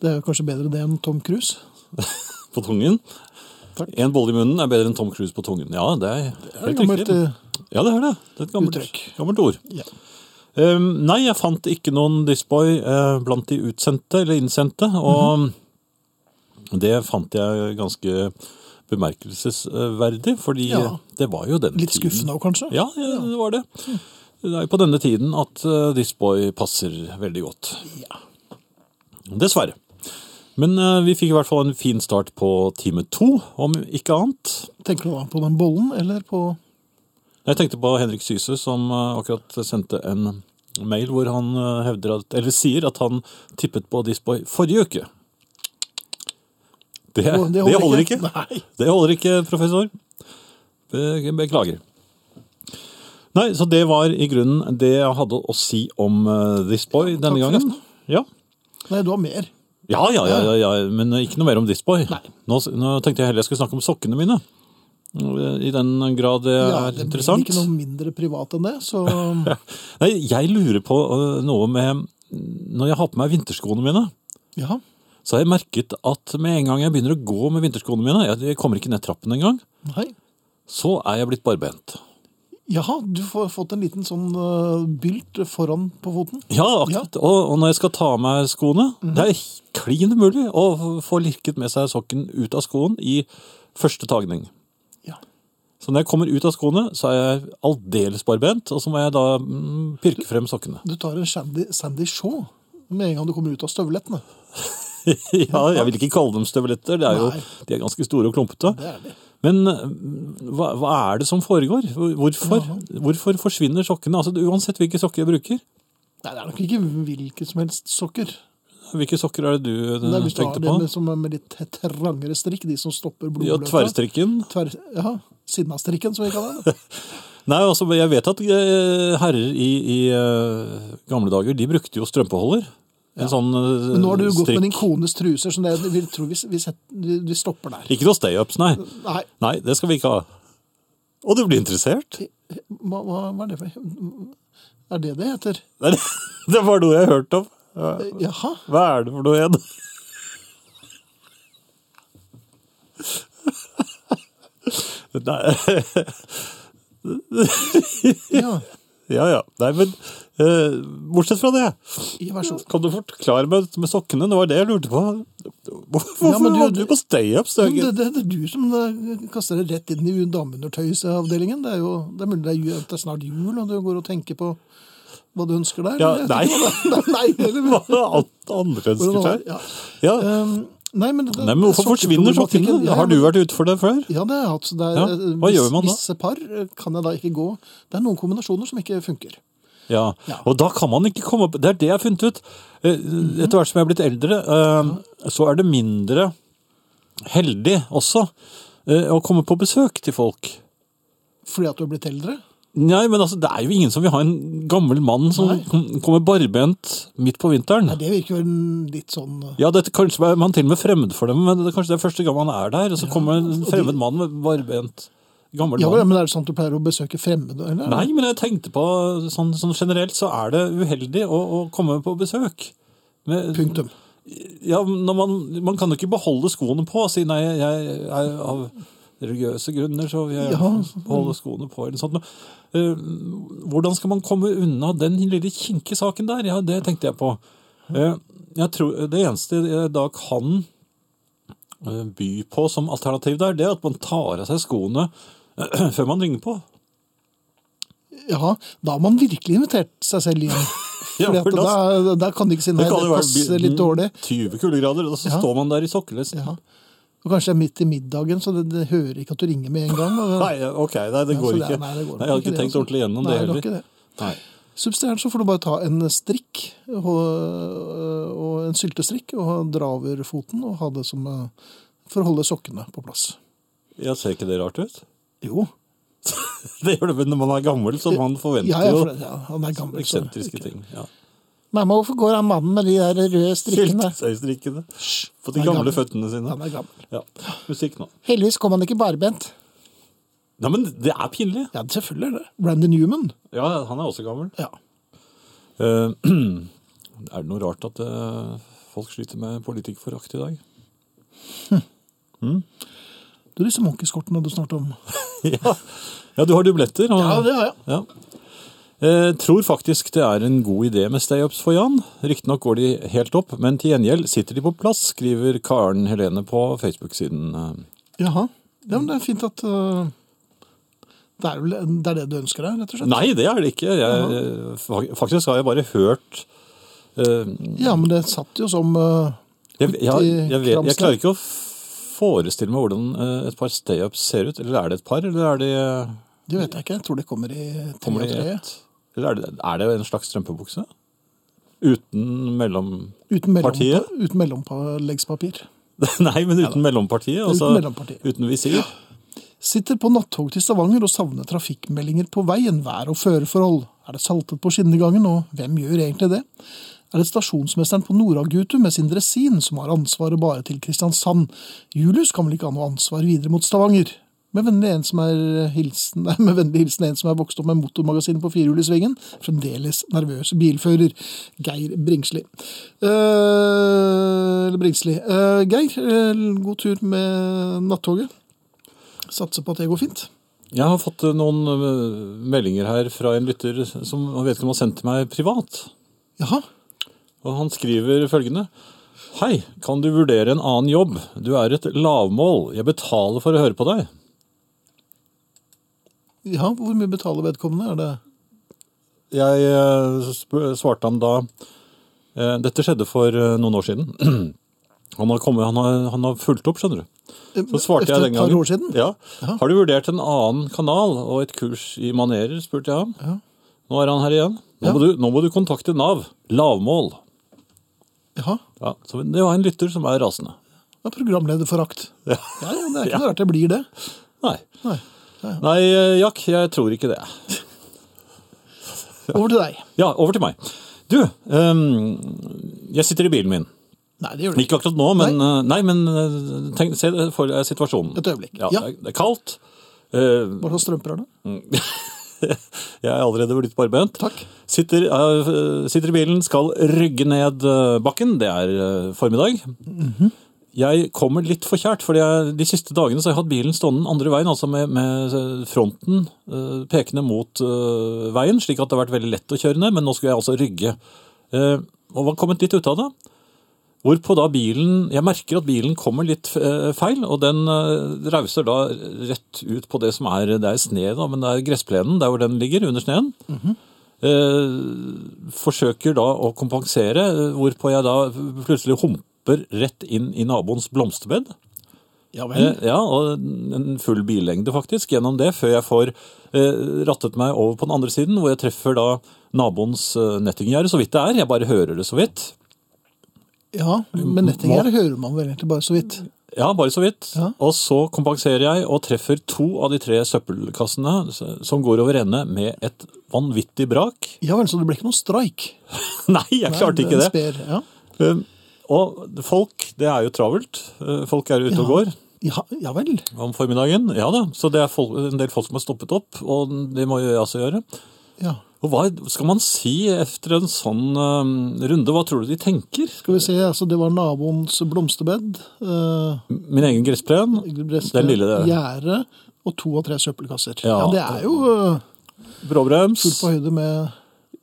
Det er jo kanskje bedre det enn Tom Cruise. på tungen. Takk. En bolle i munnen er bedre enn Tom Cruise på tungen. Ja, det er helt gammelt, riktig. eh, Ja, det er det. Det er et gammelt, uttrykk. gammelt ord. Ja. Ehm, nei, jeg fant ikke noen Disboy eh, blant de utsendte eller innsendte, og Mhm. det fant jeg ganske bemerkelsesverdig, fordi Ja. det var jo den Litt tiden. skuffende òg, kanskje. Ja, ja, det var det. Det er jo på denne tiden at eh, Disboy passer veldig godt. Dessverre. Men eh, vi fikk i hvert fall en fin start på time to, om ikke annet. Tenker du da på den bollen, eller på Jeg tenkte på Henrik Syse, som eh, akkurat sendte en mail hvor han eh, hevder at, eller sier at han tippet på Disboy forrige uke. Det, det holder, ikke. Nei. Det holder ikke, professor. Be- Beklager. Nei, så det var i grunnen det jeg hadde å si om eh, This Boy denne for gangen. Ja. Nei, du har mer. Ja, ja, ja, ja, ja, men ikke noe mer om This Boy. Nå, s- nå tenkte jeg heller jeg skulle snakke om sokkene mine. Eh, I den grad det Ja, er det blir interessant. ikke noe mindre privat enn det, så Nei, jeg lurer på øh, noe med Når jeg har på meg vinterskoene mine, ja. så har jeg merket at med en gang jeg begynner å gå med vinterskoene mine, jeg- jeg kommer ikke ned trappen engang, Nei. så er jeg blitt barbent. Jaha, du har fått en liten sånn eh, bylt foran på foten. Ja, akkurat. Og, og når jeg skal ta av meg skoene, det er klin umulig å f- få lirket med seg sokken ut av skoen i første tagning. Ja. Så når jeg kommer ut av skoene, så er jeg aldeles barbent, og så må jeg da mm, pirke frem sokkene. Du tar en Sandy, Sandy Shaw med en gang du kommer ut av støvlettene. ja, jeg vil ikke kalle dem støvletter. Det er jo, Nei. de er ganske store og klumpete. Det er de. Men mm, hva, hva er det som foregår? Hvorfor, hvorfor forsvinner sokkene? Altså, uansett hvilke sokker jeg bruker. Nei, det er nok ikke hvilke som helst sokker. Hvilke sokker er det du Det eh, er hvis du har tenkte det på? med, som er med litt trangere strikk, de som stopper Ja, blodløpet. Tverrstrikken? Tver, ja, Sinnastrikken, som vi kaller det. Nei, altså, jeg vet at eh, herrer i, i eh, gamle dager, de brukte jo strømpeholder. En sånn Men eh, nå har du gått strikk. med din kones truser, så det, vi tror vi, vi, set, vi vi stopper der. Ikke noe stay-ups, nei. Nei, Nei, det skal vi ikke ha. Og du blir interessert. hva, hva hva er det for Er det det heter? Nei, det- det var noe jeg hørte om. Eh, Jaha. Hva er det for noe igjen? Nei, Ja, ja, ja. Nei, men eh, bortsett fra det. ja vær så god. Kan du forklare meg dette med sokkene? Det var det jeg lurte på. Hvorfor Ja, men du- holder du på stay-ups? Men Det, det, det er du som eh, kaster det rett inn i dameundertøysavdelingen. Det er jo det er mulig det er, ju- at det er snart jul, og du går og tenker på hva du ønsker der. Ja, Jeg vet nei. ikke hva det- Nei, Hva eller- alt andre ønsker Hvordan- seg? ja. Ja. Um, nei, men, det- Nei, men hvorfor forsvinner sokkene? sokkeproblematikken- Ja, Har du vært ute for det før? Ja, det har jeg hatt. så Det er, Ja, eh, hva gjør man da? Visse par eh, kan jeg da ikke gå. Det er noen kombinasjoner som ikke funker. Ja, Ja. og da kan man ikke komme opp Det er det jeg har funnet ut. Eh, Etter hvert som jeg er blitt eldre, eh, så er det mindre heldig også eh, å komme på besøk til folk. Fordi at du har blitt eldre? Nei, men altså, det er jo ingen som vil ha en gammel mann som Nei. kom- kommer barbent midt på vinteren. Nei, det virker vel litt sånn eh, Ja, dette, kanskje er man til og med fremmed for dem, men det er kanskje det er første gang man er der, og så kommer en fremmed mann med barbent gammel Ja, mann. men er det sånn at du pleier å besøke fremmede, eller? Nei, men jeg tenkte på sånn, sånn generelt så er det uheldig å, å komme på besøk. Med, Punktum. Ja, når man, man kan jo ikke beholde skoene på og si nei, jeg er av religiøse grunner, så vil jeg Ja. beholde skoene på eller sånt. Eh, Hvordan skal man komme unna den lille kinkesaken der? Ja, det tenkte jeg på. Eh, Jeg tror det eneste jeg da kan eh, by på som alternativ der, det er at man tar av seg skoene før man ringer på. Ja, da har man virkelig invitert seg selv igjen. Ja, Fordi at for da- da, da kan du ikke si nei, Det kan det jo være mm. passer bi- litt dårlig. 20 kuldegrader, og så Ja. står man der i liksom. sokkelesten. Ja. Og kanskje det er midt i middagen, så det, det hører ikke at du ringer med en gang. og- Nei, ok, nei, det Ja, går så det- ikke. nei, det går jeg hadde ikke, ikke det, tenkt altså. ordentlig Nei, gjennom det det var heller. ikke det. Nei. Substituert så får du bare ta en strikk og, og en syltestrikk og dra over foten og ha det som eh, for å holde sokkene på plass. Jeg ser ikke det rart ut. Jo. Det gjør det vel når man er gammel, så man forventer Ja, ja, for jo det, ja, han er gammel. så- eksentriske ting. Ja. Mamma, hvorfor går han mannen med de der røde strikkene? Syltesøystrikkene. På de han er gamle gammel. føttene sine. Han er gammel. Ja. Musikk nå. Heldigvis kom han ikke barbent. Nei, men det er pinlig. Ja, selvfølgelig er det. Randy Newman. Ja, han er også gammel. Ja. Eh, er det noe rart at eh, folk sliter med politikerforakt i dag? Du, disse monkeskortene du snart om. ja. ja, du har dubletter. og- har jeg. Ja. Eh, tror faktisk det er en god idé med stay-ups for Jan. Riktignok går de helt opp, men til gjengjeld sitter de på plass, skriver Karen Helene på Facebook-siden. Eh, Jaha. Ja, men det er fint at øh, det, er vel, det er det du ønsker deg, rett og slett? Nei, det er det ikke. Jeg, eh, fa- faktisk har jeg bare hørt eh, Ja, men det satt jo som øh, jeg, jeg, jeg, jeg, vet- jeg Kramstad. klarer ikke å f- forestille meg hvordan eh, et par stay-ups ser ut. Eller er det et par, eller er det, Det vet jeg ikke. Jeg tror det kommer i tre kommer og det i tre. ett? Eller er det, er det en slags strømpebukse? Uten mellom... Uten, Partiet? mellom, uten mellompåleggspapir. Nei, men uten mellompartiet. Altså, mellompartiet. Uten visir. Sitter på nattog til Stavanger og savner trafikkmeldinger på veien, vær- og føreforhold. Er det saltet på skinnegangen, og hvem gjør egentlig det? Er det stasjonsmesteren på Nordagutu med sin dresin som har ansvaret bare til Kristiansand? Julius kan vel ikke ha noe ansvar videre mot Stavanger? Med vennlig, en som er eh, hilsen, nei, med vennlig hilsen en som er vokst opp med motormagasinet på firehjul i svingen. Fremdeles nervøs bilfører. Geir Bringsli. Eh, eller Bringsli. Eh, Geir, eh, god tur med nattoget. Satser på at det går fint. Jeg har fått eh, noen eh, meldinger her fra en lytter som jeg vet ikke om han har sendt til meg privat. Jaha. Og han skriver følgende. Hei, kan du vurdere en annen jobb? Du er et lavmål. Jeg betaler for å høre på deg. Ja, hvor mye betaler vedkommende? Er det Jeg eh, sp- svarte ham da Eh, Dette skjedde for eh, noen år siden. Han har, kommet, han har, han har fulgt opp, skjønner du. Så svarte jeg Etter eh, et den gangen. par år siden? Ja. Har du vurdert en annen kanal og et kurs i manerer, spurte jeg ham. Nå er han her igjen. Nå, Ja. må du, nå må du kontakte Nav. Lavmål. Jaha. Ja, så det var en lytter som er rasende. Ja, programlederforakt. Ja. ja, det er ikke noe rart det blir det. Nei. Nei. Nei, eh, Jack, jeg tror ikke det. Over til deg. Ja, over til meg. Du, ehm, jeg sitter i bilen min. Nei, det gjør du ikke. Ikke akkurat nå, men, eh, nei, men eh, tenk, se for deg situasjonen. Et øyeblikk. Ja, Ja. Det er- det er kaldt. Eh, Hva slags strømper er det? Jeg er allerede blitt barbent. Takk. Sitter, eh, sitter i bilen, skal rygge ned eh, bakken. Det er eh, formiddag. Jeg kommer litt for kjært, for jeg- de siste dagene så har jeg hatt bilen stående den andre veien, altså med, med fronten eh, pekende mot eh, veien, slik at det har vært veldig lett å kjøre ned, men nå skulle jeg altså rygge. Eh, og var kommet litt ut av det. Hvorpå da bilen Jeg merker at bilen kommer litt eh, feil, og den eh, rauser da rett ut på det som er Det er sne, da, men det er gressplenen der hvor den ligger, under sneen. eh, forsøker da å kompensere, eh, hvorpå jeg da plutselig humper rett inn i naboens blomsterbed. Ja vel. Eh, ja, og en full billengde faktisk gjennom det, før jeg får eh, rattet meg over på den andre siden, hvor jeg treffer da naboens eh, nettinggjerde, så vidt det er. Jeg bare hører det så vidt. Ja, men nettinggjerde hører man vel egentlig bare så vidt. Ja, bare så vidt. Ja. Og så kompenserer jeg og treffer to av de tre søppelkassene s- som går over ende med et vanvittig brak. Ja vel, så det ble ikke noe streik. Nei, jeg klarte ikke det. Sper, ja. Um, Og folk, det er jo travelt. Uh, Folk er ute og går Ja, ja vel. om formiddagen. Ja da, så det er folk, en del folk som har stoppet opp, og det må jo jeg også gjøre. Ja. Og hva skal man si etter en sånn um, runde? Hva tror du de tenker? Skal vi se, altså det var naboens blomsterbed, eh, Min egen gressplen? resten- Den lille der. gjerde og to av tre søppelkasser. Ja, Ja. det er jo eh, Bråbrems. fullt på høyde med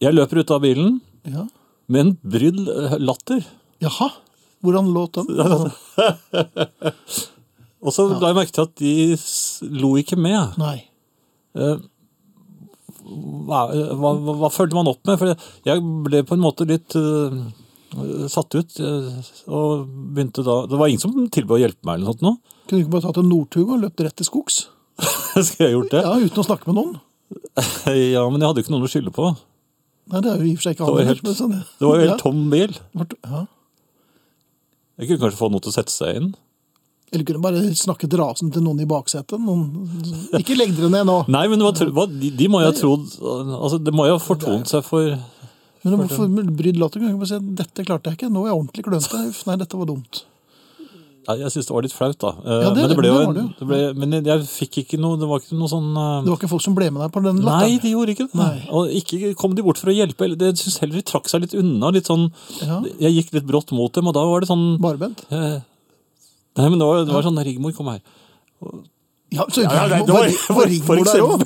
Jeg løper ut av bilen ja. med en brydd eh, latter. Jaha, hvordan låt den? Og så la jeg merke til at de s- lo ikke med. Nei. Eh, Hva, hva, hva, hva følte man opp med? For jeg ble på en måte litt eh, satt ut. eh, og begynte da Det var ingen som tilbød å hjelpe meg eller noe sånt nå. Kunne du ikke bare tatt en Northug og løpt rett til skogs? Skulle jeg gjort det? Ja, uten å snakke med noen. Ja. men jeg hadde jo ikke noen å skylde på. Nei, det er jo i og for seg ikke Det var anmeldt, helt- men sånn, ja. Det var jo helt Ja. tom bil. Vart- Ja. Jeg kunne kanskje få noe til å sette seg inn. Eller kunne bare snakket rasende til noen i baksetet. Noen... Ikke legg dere ned nå. Nei, men hva, tro- hva, de, de må jeg ha trodd altså, Det må jeg ha fortont seg for Men hvorfor brydd latter? Kan jeg bare si at dette klarte jeg ikke. Nå er jeg ordentlig klønete. Uff, nei, dette var dumt. Nei, jeg syns det var litt flaut, da. Eh, Ja, det- men det ble jo det var en, det jo. det ble, Men jeg, jeg fikk ikke noe Det var ikke noe sånn eh, Det var ikke folk som ble med deg på den Nei, latteren? de gjorde ikke det. Nei. Og ikke kom de bort for å hjelpe. eller Jeg syns heller de trakk seg litt unna. litt sånn, Ja. Jeg gikk litt brått mot dem, og da var det sånn Barbent? eh, Nei, men det var, det var sånn Rigmor, kom her. Ja, så Ja, nei, det var, var- var Rigmor for der eksempel. òg?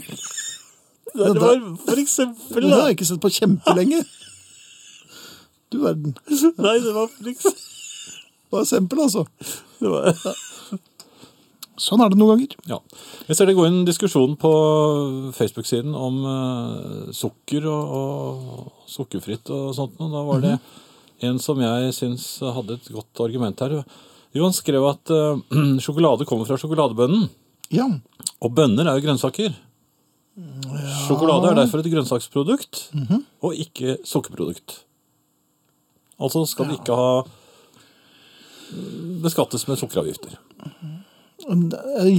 Det der- var for Det eksempel da. har jeg ikke sett på kjempelenge. Du verden. Det Nei, det var for eksempel var eksempel, altså. det var, Sånn er det noen ganger. ja. Jeg ser det går en diskusjon på Facebook-siden om eh, sukker og, og sukkerfritt og sånt. Og da var det en som jeg syns hadde et godt argument her. Jo, han skrev at eh, sjokolade kommer fra sjokoladebønnen. Ja. Og bønner er jo grønnsaker. Sjokolade er derfor et grønnsaksprodukt, og ikke sukkerprodukt. Altså skal det ikke ha eh, beskattes med sukkeravgifter.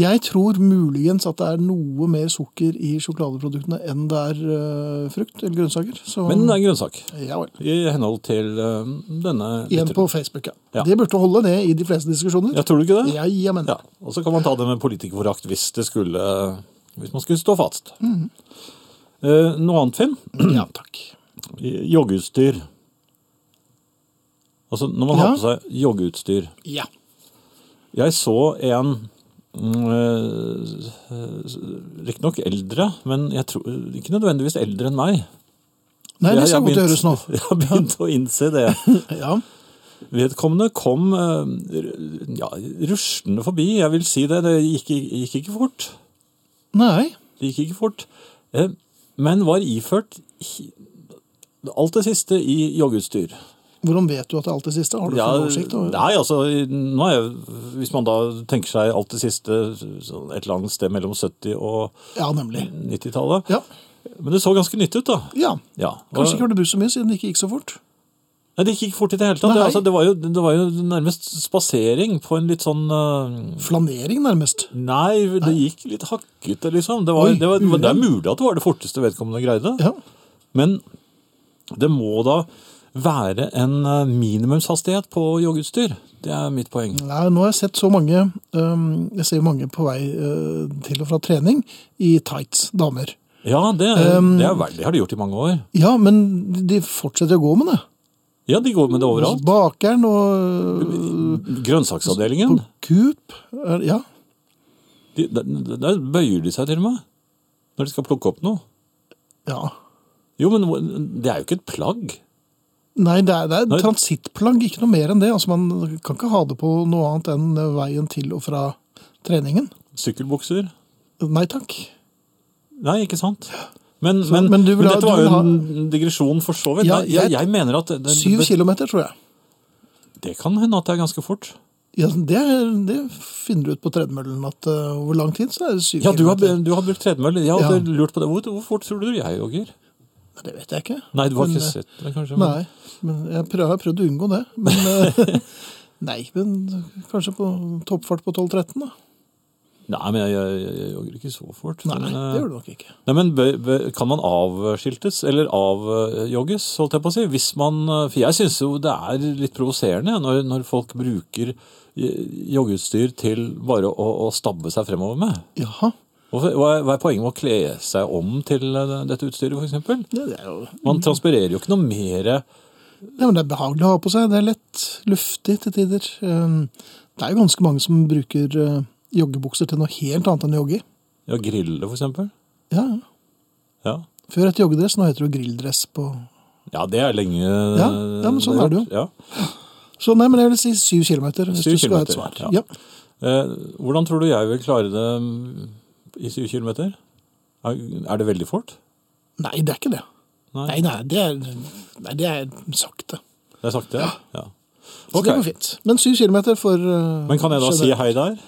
Jeg tror muligens at det er noe mer sukker i sjokoladeproduktene enn det er eh, frukt eller grønnsaker. Så, Men det er en grønnsak, ja vel. i henhold til eh, denne Igjen lytteren. på Facebook, ja. Ja. Det burde holde det i de fleste diskusjoner. Ja, tror du ikke det? Ja, jamen. Ja, og så kan man ta det med politikerforakt hvis det skulle Hvis man skulle stå fast. Mhm. Eh, noe annet, Finn? Ja, takk. Joggeutstyr. Altså når man har Ja. på seg joggeutstyr. Ja. Jeg så en mm, eh, eh, Riktignok eldre, men jeg tror, ikke nødvendigvis eldre enn meg. Nei, det Jeg- skal jeg godt har gjøres nå. begynt- Jeg har begynt å innse det. Ja. Vedkommende kom eh, r- ja, ruslende forbi, jeg vil si det. Det gikk, gikk ikke fort. Nei. Det gikk ikke fort. Eh, Men var iført hi- alt det siste i joggeutstyr. Hvordan vet du at det er alt det siste? Har du Ja, full oversikt? over- nei, altså, nå er jeg, hvis man da tenker seg alt det siste, så et eller annet sted mellom 70- og Ja, nemlig. 90-tallet. Ja. Men det så ganske nytt ut, da. ja. Ja. og- Kanskje ikke var det buss så mye siden det ikke gikk så fort. Nei, det gikk ikke fort i det hele tatt. Nei. Altså, det, var jo, det var jo nærmest spasering på en litt sånn øh, Flanering, nærmest. Nei, det gikk litt hakkete, liksom. Det, var, Oi, det, var, det, var, det er uren. mulig at det var det forteste vedkommende greide. Ja. Men det må da være en øh, minimumshastighet på joggeutstyr. Det er mitt poeng. Nei, nå har jeg sett så mange øhm, Jeg ser jo mange på vei øh, til og fra trening i tights, damer. Ja, det, det, er, vel- det har de gjort i mange år. Ja, men de- de fortsetter å gå med det. Ja, de går med det Hos overalt. bakeren og øh, på Grønnsaksavdelingen, Coop er- Ja. de, der, der bøyer de seg til og med. Når de skal plukke opp noe. ja. Jo, men hvor- det er jo ikke et plagg. Nei, det er, det Nei. er transittplagg, ikke noe mer enn det. Altså, Man kan ikke ha det på noe annet enn øh, veien til og fra treningen. Sykkelbukser. Nei takk. Nei, ikke sant? Men, Så- men, men men, du vil ha- dette du var jo vil ha- en digresjon for så vidt. Ja, Nei, jeg, jeg- jeg mener at det, Syv det, kilometer, tror jeg. det kan hende at det er ganske fort. Ja, det, det finner du ut på tredemøllen, at øh, over lang tid så er det syv Ja, du har, kilometer. du har brukt tredemølle. Jeg Ja. hadde lurt på det. Hvor, hvor fort tror du jeg jogger? Nei, Det vet jeg ikke. Nei, du har Men, ikke øh, sett det, kanskje? Men, Nei, men jeg prøver- jeg har prøvd å unngå det. Men, eh, nei, men kanskje på toppfart på 12-13, da. nei, men jeg, jeg, jeg jogger ikke så fort. Nei, men, eh, det gjør du nok ikke. Nei, men bø- bø- Kan man avskiltes, eller avjogges, holdt jeg på å si? Hvis man, eh, for jeg syns jo det er litt provoserende ja, når, når folk bruker eh, joggeutstyr til bare å, å stabbe seg fremover med. Jaha. Hvorfor- Hva er, hva er poenget med å kle seg om til eh, dette utstyret, f.eks.? Ja, det er jo Man transpirerer jo ikke noe mer Nei, men det er behagelig å ha på seg. Det er lett luftig til tider. Eh, Det er jo ganske mange som bruker eh, joggebukser til noe helt annet enn å jogge i. ja, grille, f.eks. Ja, ja. Ja. Før het joggedress, nå heter det jo grilldress på ja, det er lenge Ja, ja, men sånn er det jo. Ja. Så nei, men jeg vil si syv kilometer. Hvis Syv du skal ha et kilometer, svar. Ja. ja. Eh, Hvordan tror du jeg vil klare det mm, i 7 km? Er er det veldig fort? Nei, det er ikke det. Nei. Nei, nei, det er, nei, det er sakte. Det er sakte? Ja. Så Ok. det går fint. Men syv kilometer for eh, Men kan jeg da si generelt. hei der?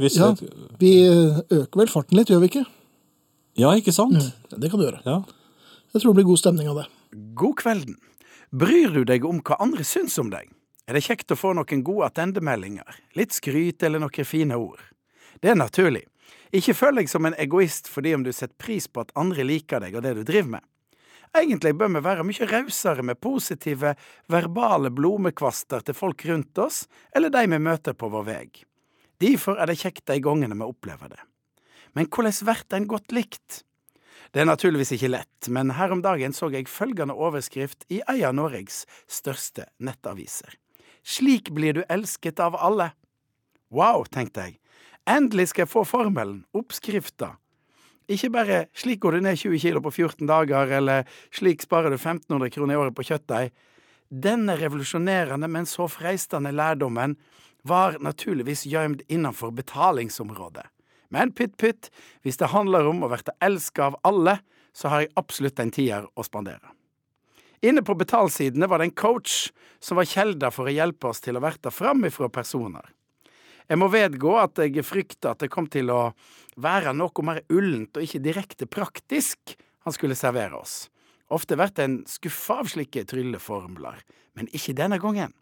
Hvis Ja, jeg- vi eh, øker vel farten litt, gjør vi ikke? ja, ikke sant? Det kan du gjøre. Ja. Jeg tror det blir god stemning av det. God kvelden. Bryr du deg om hva andre syns om deg? Er det kjekt å få noen gode attendemeldinger, litt skryt eller noen fine ord? Det er naturlig. Ikke føl deg som en egoist fordi om du setter pris på at andre liker deg og det du driver med. Egentlig bør vi være mye rausere med positive, verbale blomekvaster til folk rundt oss, eller de vi møter på vår vei. Derfor er det kjekt de gangene vi opplever det. Men hvordan blir en godt likt? Det er naturligvis ikke lett, men her om dagen så jeg følgende overskrift i ei av Norges største nettaviser. Slik blir du elsket av alle. Wow, tenkte jeg. Endelig skal jeg få formelen, oppskrifta. Ikke bare slik går du ned 20 kilo på 14 dager, eller slik sparer du 1500 kroner i året på kjøttdeig. Denne revolusjonerende, men så freistende lærdommen var naturligvis gjemt innenfor betalingsområdet. Men pytt pytt, hvis det handler om å verte elska av alle, så har jeg absolutt en tier å spandere. Inne på betalsidene var det en coach som var kjelda for å hjelpe oss til å verte framifrå personer. Jeg må vedgå at jeg frykta at det kom til å være noe mer ullent og ikke direkte praktisk han skulle servere oss. Ofte blir en skuffa av slike trylleformler, men ikke denne gangen.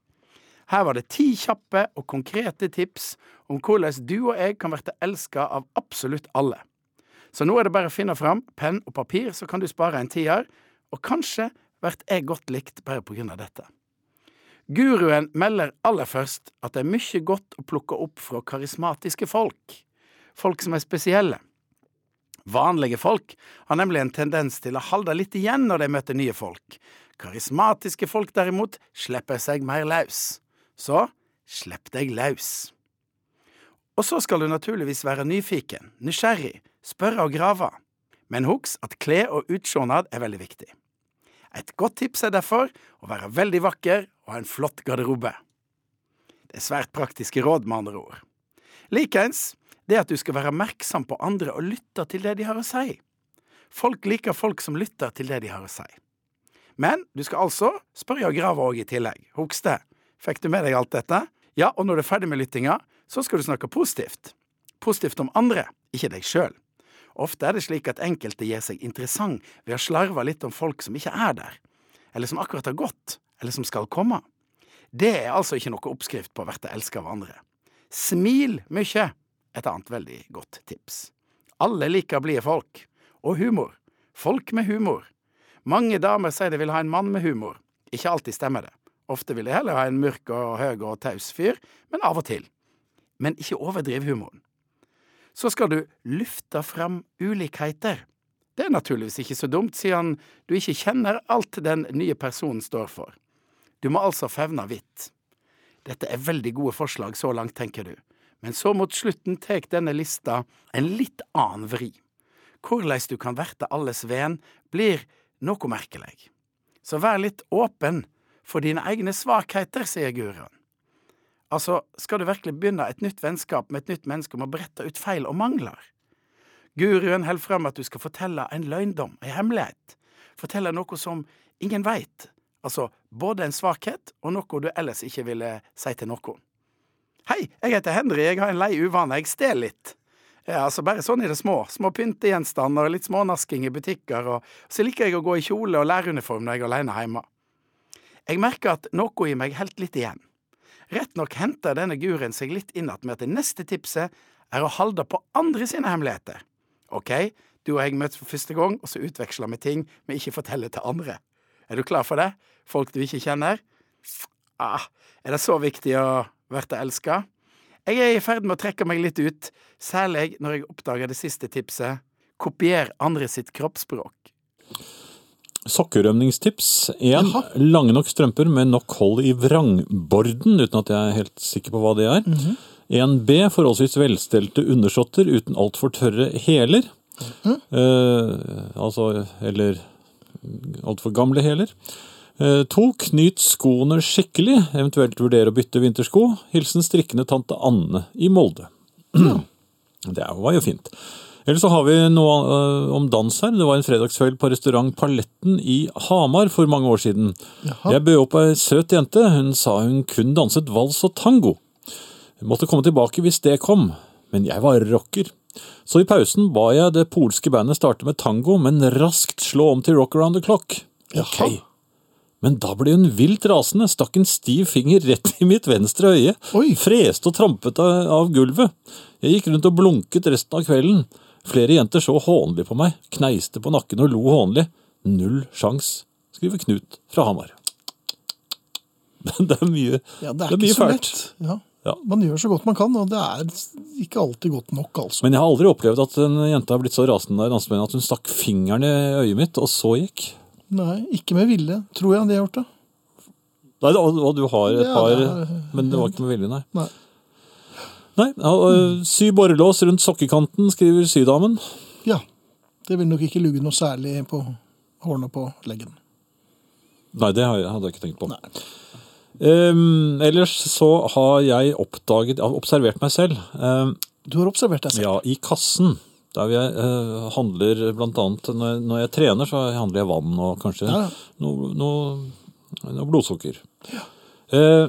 Her var det ti kjappe og konkrete tips om hvordan du og jeg kan bli elska av absolutt alle. Så nå er det bare å finne fram penn og papir, så kan du spare en tier, og kanskje blir jeg godt likt bare på grunn av dette. Guruen melder aller først at det er mye godt å plukke opp fra karismatiske folk. Folk som er spesielle. Vanlige folk har nemlig en tendens til å holde litt igjen når de møter nye folk. Karismatiske folk derimot slipper seg mer løs. Så slipp deg løs. Og så skal du naturligvis være nyfiken, nysgjerrig, spørre og grave. Men husk at klær og utsjånad er veldig viktig. Et godt tips er derfor å være veldig vakker og ha en flott garderobe. Det er svært praktiske råd, med andre ord. Likeens det at du skal være oppmerksom på andre og lytte til det de har å si. Folk liker folk som lytter til det de har å si. Men du skal altså spørre Grava òg i tillegg. Hogstad, fikk du med deg alt dette? Ja, og når du er ferdig med lyttinga, så skal du snakke positivt. Positivt om andre, ikke deg sjøl. Ofte er det slik at enkelte gir seg interessant ved å slarve litt om folk som ikke er der, eller som akkurat har gått, eller som skal komme. Det er altså ikke noe oppskrift på å verte elska av andre. Smil mye, et annet veldig godt tips. Alle liker blide folk. Og humor. Folk med humor. Mange damer sier de vil ha en mann med humor. Ikke alltid stemmer det. Ofte vil de heller ha en mørk og høy og taus fyr, men av og til. Men ikke overdriv humoren. Så skal du lufte fram ulikheter. Det er naturligvis ikke så dumt, siden du ikke kjenner alt den nye personen står for. Du må altså fevne vidt. Dette er veldig gode forslag så langt, tenker du, men så mot slutten tek denne lista en litt annen vri. Korleis du kan verte alles venn, blir noe merkelig. Så vær litt åpen for dine egne svakheter, sier guruen. Altså, skal du virkelig begynne et nytt vennskap med et nytt menneske om å brette ut feil og mangler? Guruen held frem at du skal fortelle en løgndom, ei hemmelighet. Fortelle noe som ingen veit. Altså både en svakhet og noe du ellers ikke ville si til noen. Hei, jeg heter Henry, jeg har en lei uvane, jeg stjeler litt. Ja, altså bare sånn i det små. Små pyntegjenstander og litt smånasking i butikker, og så liker jeg å gå i kjole og læreruniform når jeg er alene hjemme. Jeg merker at noe i meg helt litt igjen. Rett nok henter denne guren seg litt inn at med at det neste tipset er å holde på andre sine hemmeligheter. Ok, du og jeg møtes for første gang, og så utveksler vi ting vi ikke forteller til andre. Er du klar for det? Folk du ikke kjenner? Ah, er det så viktig å verte elska? Jeg er i ferd med å trekke meg litt ut, særlig når jeg oppdager det siste tipset. Kopier andre sitt kroppsspråk. Sokkerømningstips. En, lange nok strømper med nok hold i vrangborden, uten at jeg er helt sikker på hva det er. En B, forholdsvis velstelte undersåtter uten altfor tørre hæler. Eh, altså, eller altfor gamle hæler. Eh, to, knyt skoene skikkelig, eventuelt vurdere å bytte vintersko. Hilsen strikkende tante Anne i Molde. Det er- var jo fint. Ellers så har vi noe øh, om dans her. Det var en fredagskveld på restaurant Paletten i Hamar for mange år siden. Jeg bød opp ei søt jente. Hun sa hun kun danset vals og tango. Hun måtte komme tilbake hvis det kom, men jeg var rocker. Så i pausen ba jeg det polske bandet starte med tango, men raskt slå om til rock around the clock. Jaha. Men da ble hun vilt rasende, stakk en stiv finger rett i mitt venstre øye, Oi. freste og trampet av av gulvet. Jeg gikk rundt og blunket resten av kvelden. Flere jenter så hånlig på meg, kneiste på nakken og lo hånlig. Null sjans, skriver Knut fra Hamar. Det er mye, Ja, det det er er, mye ikke så fælt. lett. Ja. Ja. Man gjør så godt man kan, og det er ikke alltid godt nok, altså. Men jeg har aldri opplevd at en jente har blitt så rasende der dansemenn at hun stakk fingeren i øyet mitt, og så gikk. Nei, ikke med vilje, tror jeg de har gjort det. Nei, og og du har et Ja, par, det er- men det var ikke med vilje, nei. Nei. Nei, ja, og, Sy borrelås rundt sokkekanten, skriver sydamen. Ja. Det vil nok ikke lugge noe særlig på hårene på leggen. Nei, det har jeg- hadde jeg ikke tenkt på. Ehm, ellers så har jeg oppdaget, har observert meg selv. Ehm, Du har observert deg selv. ja, i kassen. Der hvor jeg eh, handler blant annet når jeg, når jeg trener, så handler jeg vann og kanskje Ja, ja. noe, noe, noe blodsukker. Eh,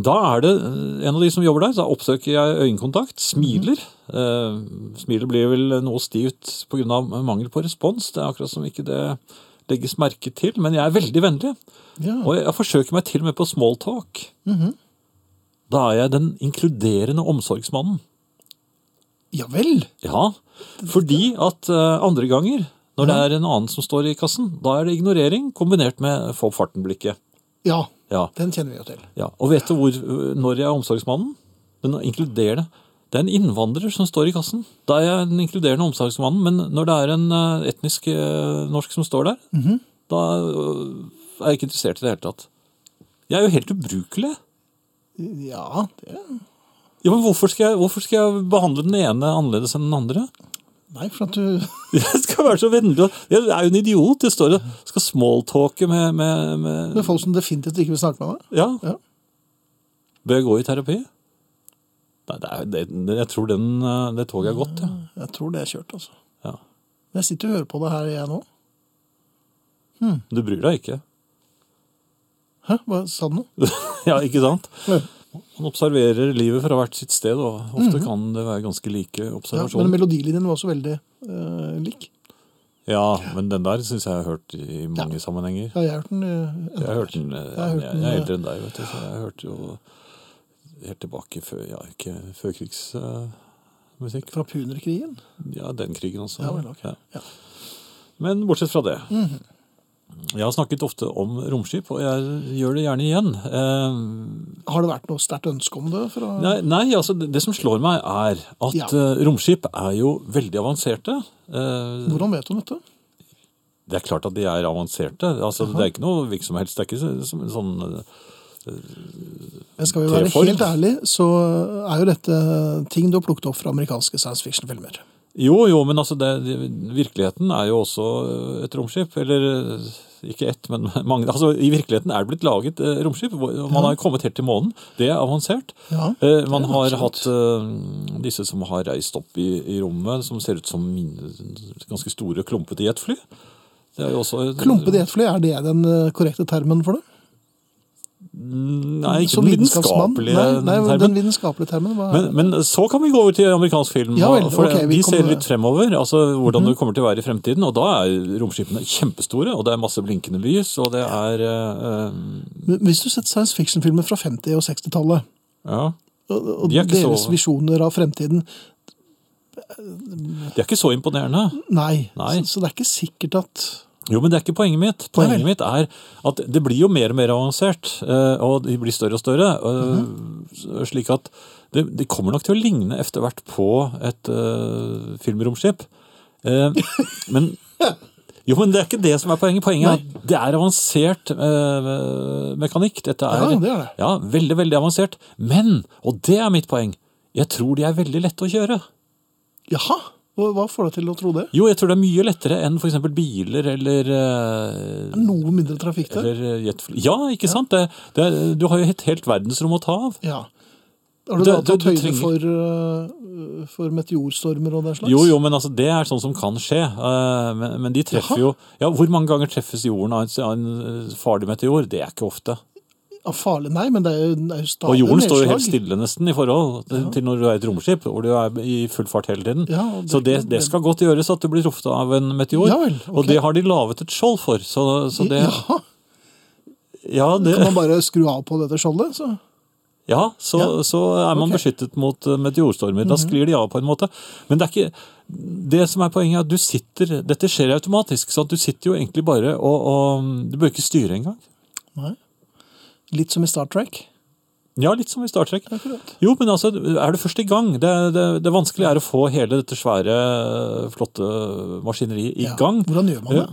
da er det eh, en av de som jobber der, så oppsøker jeg øyekontakt, smiler. Eh, smilet blir vel noe stivt pga. mangel på respons. Det er akkurat som ikke det legges merke til. Men jeg er veldig vennlig. Ja. Og jeg, jeg forsøker meg til og med på smalltalk. Da er jeg den inkluderende omsorgsmannen. Ja vel. Ja, fordi at eh, andre ganger, når det er en annen som står i kassen, da er det ignorering kombinert med få opp farten-blikket. Ja. Ja. Den kjenner vi jo til. Ja, og vet du hvor, når jeg er omsorgsmannen? Den inkluderende. Det er en innvandrer som står i kassen. Da er jeg den inkluderende omsorgsmannen, men når det er en eh, etnisk eh, norsk som står der, da eh, er jeg ikke interessert i det hele tatt. Jeg er jo helt ubrukelig. Ja, det Ja, men hvorfor skal, jeg, hvorfor skal jeg behandle den ene annerledes enn den andre? Nei, for at du Jeg skal være så vennlig. og- Jeg er jo en idiot. Jeg står og skal smalltalke med, med, med Med folk som definitivt ikke vil snakke med deg. Ja. Ja. Bør jeg gå i terapi? Nei, det er, det, jeg tror den, eh, det toget er gått, ja. Jeg tror det er kjørt, altså. ja. Jeg sitter og hører på det her, jeg nå. Du bryr deg ikke. Hæ, hva sa du nå? ja, ikke sant? Ja. Man observerer livet fra hvert sitt sted, og ofte kan det være ganske like Mhm. Ja, men observasjoner. Ja, melodilinjen var også veldig eh, lik. men, den der syns jeg jeg har hørt i mange sammenhenger. Ja, jeg har hørt den. eh, Jeg har hørt den, jeg, har hørt jeg, den, er eh, eldre enn deg, vet du, så jeg har hørt jo helt tilbake før, ja, ikke førkrigsmusikk. fra punerkrigen. Ja, den krigen også. Ja, vel, ok. Ja. Mhm. Men bortsett fra det. Jeg har snakket ofte om romskip, og jeg gjør det gjerne igjen. Eh, Har det vært noe sterkt ønske om det? Fra... Nei, nei altså det det som slår meg er at Ja. eh, romskip er jo veldig avanserte. Eh, Hvordan vet hun dette? Det er klart at de er avanserte. Altså, Det er ikke noe hvilket som helst. Det er ikke så- som en sånn eh, Men skal vi være T-Ford. helt ærlig, så er jo dette ting du har plukket opp fra amerikanske science fiction-filmer. Jo, jo, men altså det, det- virkeligheten er jo også eh, et romskip. Eller eh, ikke ett, men mange. Altså, I virkeligheten er det blitt laget eh, romskip. hvor- Man har kommet helt til månen. Det er avansert. Ja, Eh, Man har hatt eh, disse som har reist opp i, i rommet, som ser ut som mine, ganske store, klumpete jetfly. Det er jo også Klumpede jetfly, er det den eh, korrekte termen for det? Nei, ikke Som den vitenskapsmann? vitenskapelige Nei, nei termen. den vitenskapelige termen. Hva er Men, men så kan vi gå over til amerikansk film. Ja vel, for ok, vi de ser kommer- Mhm. litt fremover, altså hvordan det kommer til å være i fremtiden. Og da er romskipene kjempestore, og det er masse blinkende lys, og det er eh, Men Hvis du setter science fiction-filmer fra 50- og 60-tallet, eh, Ja. og, og De er ikke så- deres visjoner av fremtiden Det er ikke så imponerende. Nei. Nei. Så, så det er ikke sikkert at Jo, men det er ikke poenget mitt. Nei Poenget vel. mitt er at det blir jo mer og mer avansert, eh, og de blir større og større. eh, Mhm. Slik at det, det kommer nok til å ligne etter hvert på et eh, filmromskip. Eh, Men Jo, men det er ikke det som er poenget. Poenget er at det er avansert eh, mekanikk. Dette er, Ja, det er det. Ja, veldig, veldig avansert. Men, og det er mitt poeng, jeg tror de er veldig lette å kjøre. Jaha! Hva hva får deg til å tro det? Jo, jeg tror det er mye lettere enn f.eks. biler eller eh, Er det Noe mindre trafikk der? Eller eh, jetfly. Ja, ikke sant? Det, det, er- du har jo et helt verdensrom å ta av. Ja. Har du Det- da det- tatt du høyde trenger- for, øh, for meteorstormer og den slags? Jo, jo, men altså, det er sånn som kan skje. Eh, Men, men de treffer Jaha. jo Ja, Hvor mange ganger treffes jorden av en, av en eh, farlig meteor? Det er ikke ofte. Ja, farlig, nei, men det er jo, det er jo stadig Og jorden står jo nedslag. helt stille nesten i forhold til til når du er i et romskip, hvor du er i full fart hele tiden. Ja, og det- så det, det skal godt gjøres at du blir truffet av en meteor. Ja vel, ok. Og det har de laget et skjold for. Så, så det Jaha, Ja, det, kan man bare skru av på dette skjoldet? Så. Ja, så, Ja. så er man Ok. Mhm. beskyttet mot eh, meteorstormer. Da sklir de av på en måte. Men det er ikke Det som er poenget, er at du sitter Dette skjer automatisk, så at du sitter jo egentlig bare og, og Du bør ikke styre engang. Nei. Litt som i Star Trek. Ja, litt som i Star Trek. Akkurat. Jo, men altså, er du først i gang? Det, det, det vanskelige er å få hele dette svære, flotte maskineriet i Ja. gang. Hvordan gjør man det?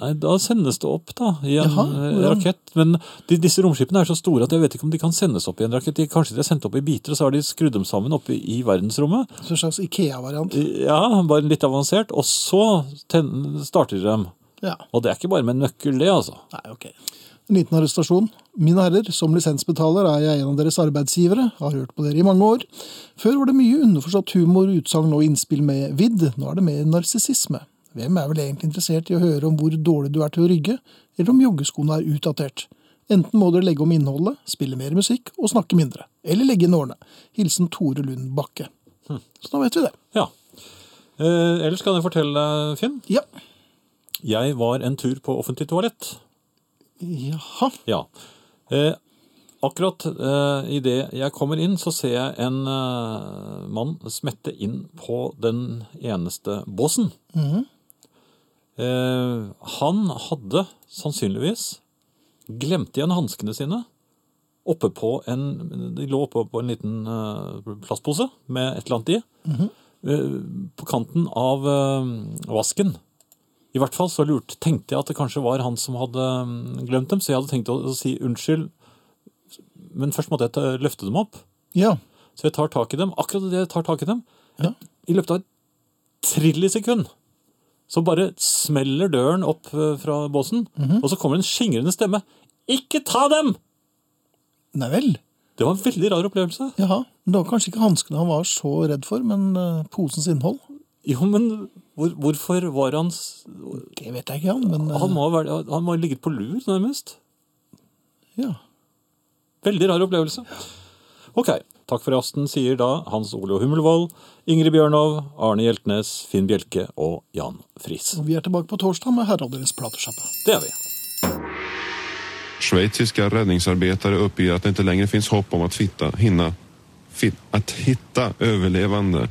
Nei, Da sendes det opp da, i en eh, Jaha, hvordan? rakett. Men de, disse romskipene er så store at jeg vet ikke om de kan sendes opp i en rakett. De, kanskje de er sendt opp i biter, og så har de skrudd dem sammen oppe i, i verdensrommet. Som en slags Ikea-variant. Ja, bare litt avansert. Og så ten, starter de dem. Ja. Og det er ikke bare med nøkkel, det, altså. Nei, ok. En liten arrestasjon. Mine herrer, som lisensbetaler er jeg en av deres arbeidsgivere, har hørt på dere i mange år. Før var det mye underforstått humor, utsagn og innspill med vidd, nå er det mer narsissisme. Hvem er vel egentlig interessert i å høre om hvor dårlig du er til å rygge, eller om joggeskoene er utdatert? Enten må dere legge om innholdet, spille mer musikk og snakke mindre. Eller legge inn årene. Hilsen Tore Lund Bakke. Så da vet vi det. Ja. Eh, ellers kan jeg fortelle deg, Finn. Ja. Jeg var en tur på offentlig toalett. Jaha. Ja. Eh, akkurat eh, idet jeg kommer inn, så ser jeg en eh, mann smette inn på den eneste båsen. eh, han hadde sannsynligvis glemt igjen hanskene sine. Oppe på en, de lå oppe på en liten eh, plastpose med et eller annet i. eh, på kanten av eh, vasken. I hvert fall så lurt, tenkte jeg at det kanskje var han som hadde mm, glemt dem, så jeg hadde tenkt å si unnskyld, men først måtte jeg ta, løfte dem opp. Ja. Så jeg tar tak i dem. Akkurat idet jeg tar tak i dem, Ja. i løpet av et trillisekund, så bare smeller døren opp eh, fra båsen, og så kommer en skingrende stemme. Ikke ta dem! Nei vel. Det var en veldig rar opplevelse. Jaha. Det var kanskje ikke hanskene han var så redd for, men eh, posens innhold. Jo, men hvor, hvorfor var han s- Det vet jeg ikke, han, men eh, Han må ha vært- han må ha ligget på lur, nærmest. eh, ja. Veldig rar opplevelse. Ok, takk for i aften, sier da Hans Ole Hummelvold, Ingrid Bjørnov, Arne Hjeltnes, Finn Bjelke og Jan Friis. Og vi er tilbake på torsdag med Herreavdelingens platesjappe. Det er vi. Schweiziska räddningsarbetare uppger att det inte längre finns hopp om att fitta, hinna, fit, att hitta överlevande.